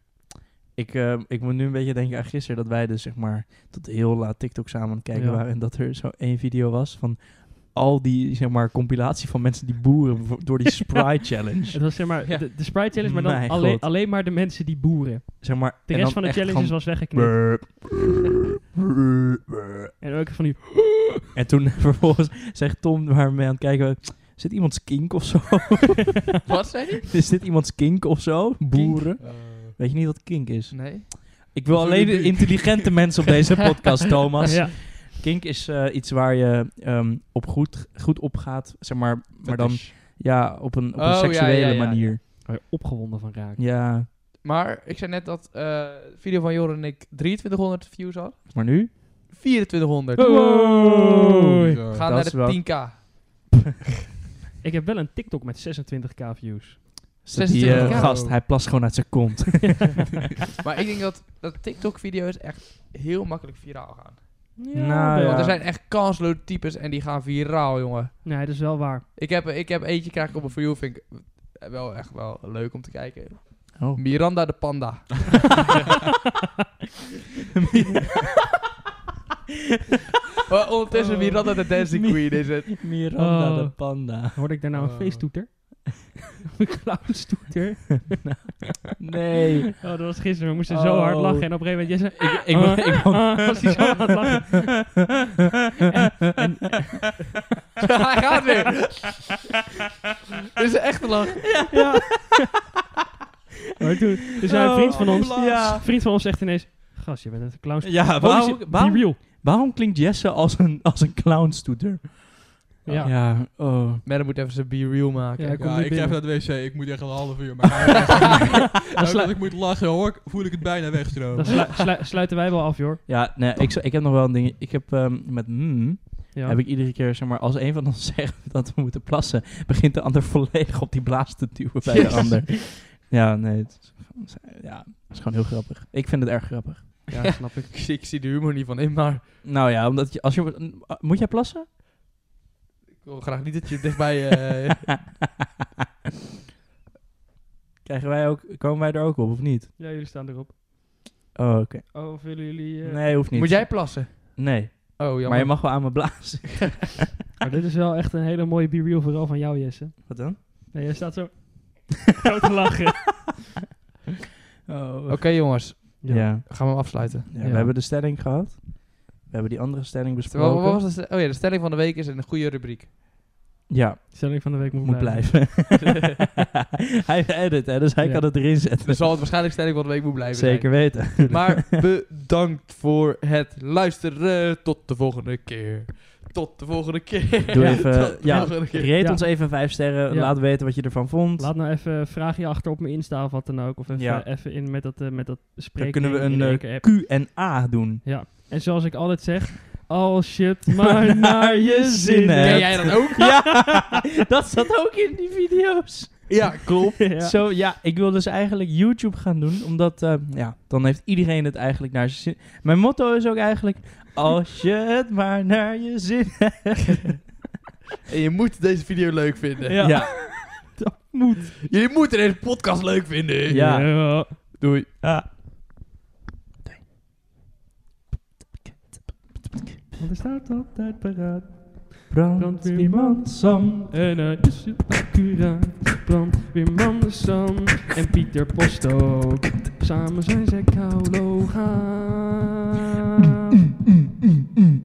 S1: Ik, eh, ik moet nu een beetje denken aan gisteren dat wij dus zeg maar tot heel laat TikTok samen aan het kijken
S3: Ja.
S1: waren. En dat er zo één video was van al die zeg maar compilatie van mensen die boeren vo- door
S3: (laughs)
S1: die Sprite Challenge.
S3: Het was zeg maar
S4: Ja.
S3: de, de Sprite Challenge, maar dan
S1: Mijn
S3: alleen,
S1: god.
S3: alleen maar de mensen die boeren.
S1: Zeg maar,
S3: De
S1: en
S3: rest
S1: dan
S3: van de
S1: echt
S3: challenges
S1: gewoon
S3: was weggeknipt.
S1: brrr, brrr, brrr, brrr.
S3: En ook van die...
S1: En toen (laughs) vervolgens zegt Tom waar we mee aan het kijken waren, Zit iemands kink of
S3: (laughs)
S1: zo? (laughs)
S4: Wat zei hij?
S1: is dit iemands kink of zo? Boeren.
S2: Eh,
S1: Weet je niet wat kink is?
S4: Nee.
S1: Ik wil
S2: Wat wil
S1: alleen
S2: je
S1: de
S2: doen?
S1: intelligente mensen op
S3: (laughs)
S1: deze podcast, Thomas.
S3: Ja.
S1: Kink is eh, iets waar je ehm, op goed, goed op gaat, zeg maar, maar dan
S2: Fetish.
S1: ja, op een, op
S4: Oh,
S1: een
S4: ja,
S1: seksuele
S4: ja, ja,
S1: manier.
S3: Waar je opgewonden van raakt.
S1: Ja,
S4: Maar ik zei net dat eh, de video van Joren en ik 2300 views had.
S1: maar nu?
S4: 2400.
S3: Oh, Hoi.
S2: Bizar.
S4: We gaan
S1: dat
S4: naar
S1: is
S4: de
S1: wel- (laughs)
S4: 10k.
S3: Ik heb wel een TikTok met 26k views.
S1: Zit Die eh,
S4: 26K.
S1: gast, hij plast gewoon uit zijn kont. (laughs)
S4: Maar ik denk dat, dat TikTok-video's echt heel makkelijk viraal gaan.
S3: Ja,
S1: Nou,
S3: wel.
S1: ja.
S4: Want er zijn echt kansloze types en die gaan viraal, jongen.
S3: Nee, dat is wel waar.
S4: Ik heb, ik heb eentje krijg ik op een For You, vind ik eh, wel echt wel leuk om te kijken.
S1: Oh.
S4: Miranda de
S1: (laughs)
S4: Panda. Maar Ondertussen
S3: Oh.
S4: Miranda de Dancing
S1: Mi-
S4: Queen is het. (laughs)
S1: Miranda
S3: Oh.
S1: de panda.
S3: Hoorde ik daar nou een
S4: Oh.
S3: feesttoeter? (laughs) Of een clownstoeter?
S1: (laughs) Nee.
S3: Oh, dat was gisteren. We moesten
S1: Oh.
S3: zo hard lachen. En op een gegeven moment, jij zei...
S1: Ik- ik mo-
S3: ah,
S1: ik mo-
S3: ah, was hij zo aan het (laughs) lachen. En- en-
S4: Hij gaat weer. Dit is echt een lach.
S3: ja. (laughs) maar toen, dus een
S1: Oh,
S3: vriend van ons,
S1: ja.
S3: vriend van ons zegt ineens... Gast, je bent een clownstoeter.
S1: (laughs) Ja,
S3: Waarom is
S1: waarom,
S3: je- Be
S1: waarom,
S3: real.
S1: waarom klinkt Jesse als een, als een clownstoeter?
S3: Ja.
S1: ja oh.
S4: Madden moet even zijn be real maken.
S3: Ja, ik- Kom
S2: Ja,
S3: nu
S2: ik ga
S3: binnen.
S2: even naar de wc. Ik moet echt een half uur.
S3: (laughs)
S2: Maar nou,
S3: sla-
S2: dat ik moet lachen hoor, voel ik het bijna
S3: Dan
S2: wegstromen.
S3: slu- slu- sluiten wij wel af, joh.
S1: Ja, nee, ik, zou- ik heb nog wel een ding. Ik heb ehm, met mm,
S3: Ja.
S1: heb ik iedere keer, zeg maar, als een van ons (laughs) zegt dat we moeten plassen, begint de ander volledig op die blaas te duwen bij de
S4: Jezus.
S1: ander. Ja, nee, het is, gewoon- ja, het is gewoon heel grappig. Ik vind het erg grappig.
S3: ja, snap ik.
S4: Ik, ik zie de humor niet van in, maar
S1: Nou ja, omdat je, als je, moet jij plassen?
S4: ik wil graag niet dat je dichtbij... eh
S1: Krijgen wij ook, komen wij er ook op of niet?
S3: Ja, jullie staan erop.
S1: Oh, oké.
S3: Oh, of willen jullie... eh,
S1: Nee, hoeft (laughs) niet.
S4: moet jij plassen?
S1: Nee,
S4: Oh, jammer.
S1: maar je mag wel aan me blazen. (laughs)
S3: Maar dit is wel echt een hele mooie be-real vooral van jou, Jesse.
S1: Wat dan?
S3: Nee, jij staat
S1: (laughs)
S3: zo... zo te lachen.
S1: Oh,
S4: Oké jongens,
S1: ja. Ja.
S4: gaan we hem afsluiten.
S1: we
S3: Ja.
S1: hebben de stelling gehad. We hebben die andere stelling
S4: Terwijl,
S1: besproken.
S4: wat was de, stel- oh ja, de stelling van de week is een goede rubriek.
S1: (laughs) Ja,
S3: Stelling van de week moet,
S1: moet
S3: blijven.
S1: blijven. (laughs) hij edit, hè, dus hij
S3: Ja.
S1: kan het erin zetten.
S4: Dus zal het waarschijnlijk stelling van de week moet blijven
S1: Zeker weten.
S4: zijn. (laughs) Maar bedankt voor het luisteren. Tot de volgende keer. Tot de volgende keer.
S1: Doe
S3: Ja.
S1: even,
S4: (laughs) Tot de
S1: ja,
S4: volgende keer.
S1: reed
S3: Ja.
S1: ons even vijf sterren.
S3: Ja.
S1: Laat weten wat je ervan vond.
S3: Laat nou even een vraagje achter op mijn Insta of wat dan ook. Of even,
S1: Ja.
S3: even in met dat, eh, met dat
S1: Dan
S3: spreken.
S1: kunnen we
S3: in
S1: een
S3: één
S1: eh,
S3: keer app.
S1: Q en A doen.
S3: Ja. En zoals ik altijd zeg, al
S1: (laughs)
S3: shit maar naar je zin
S1: hebt.
S4: Ken
S3: hebt.
S4: jij dat
S1: (laughs)
S4: ook?
S1: Ja, (laughs) dat zat ook in die video's.
S4: Ja, klopt.
S3: Ja.
S1: Zo, ja, ik wil dus eigenlijk YouTube gaan doen, omdat, eh, ja, dan heeft iedereen het eigenlijk naar zijn zin. Mijn motto is ook eigenlijk, als je het maar naar je zin
S4: En je moet deze video leuk vinden.
S3: Ja.
S1: Ja.
S4: Jullie moeten deze podcast leuk vinden.
S1: Ja.
S3: Ja.
S4: Doei.
S1: Ah.
S3: Want er staat altijd paraat.
S1: Brandweerman
S3: Brandweerman Sam en hij is het accuraat. Brandweerman Sam en Pieter Post ook. Samen zijn zij kauwlogaat.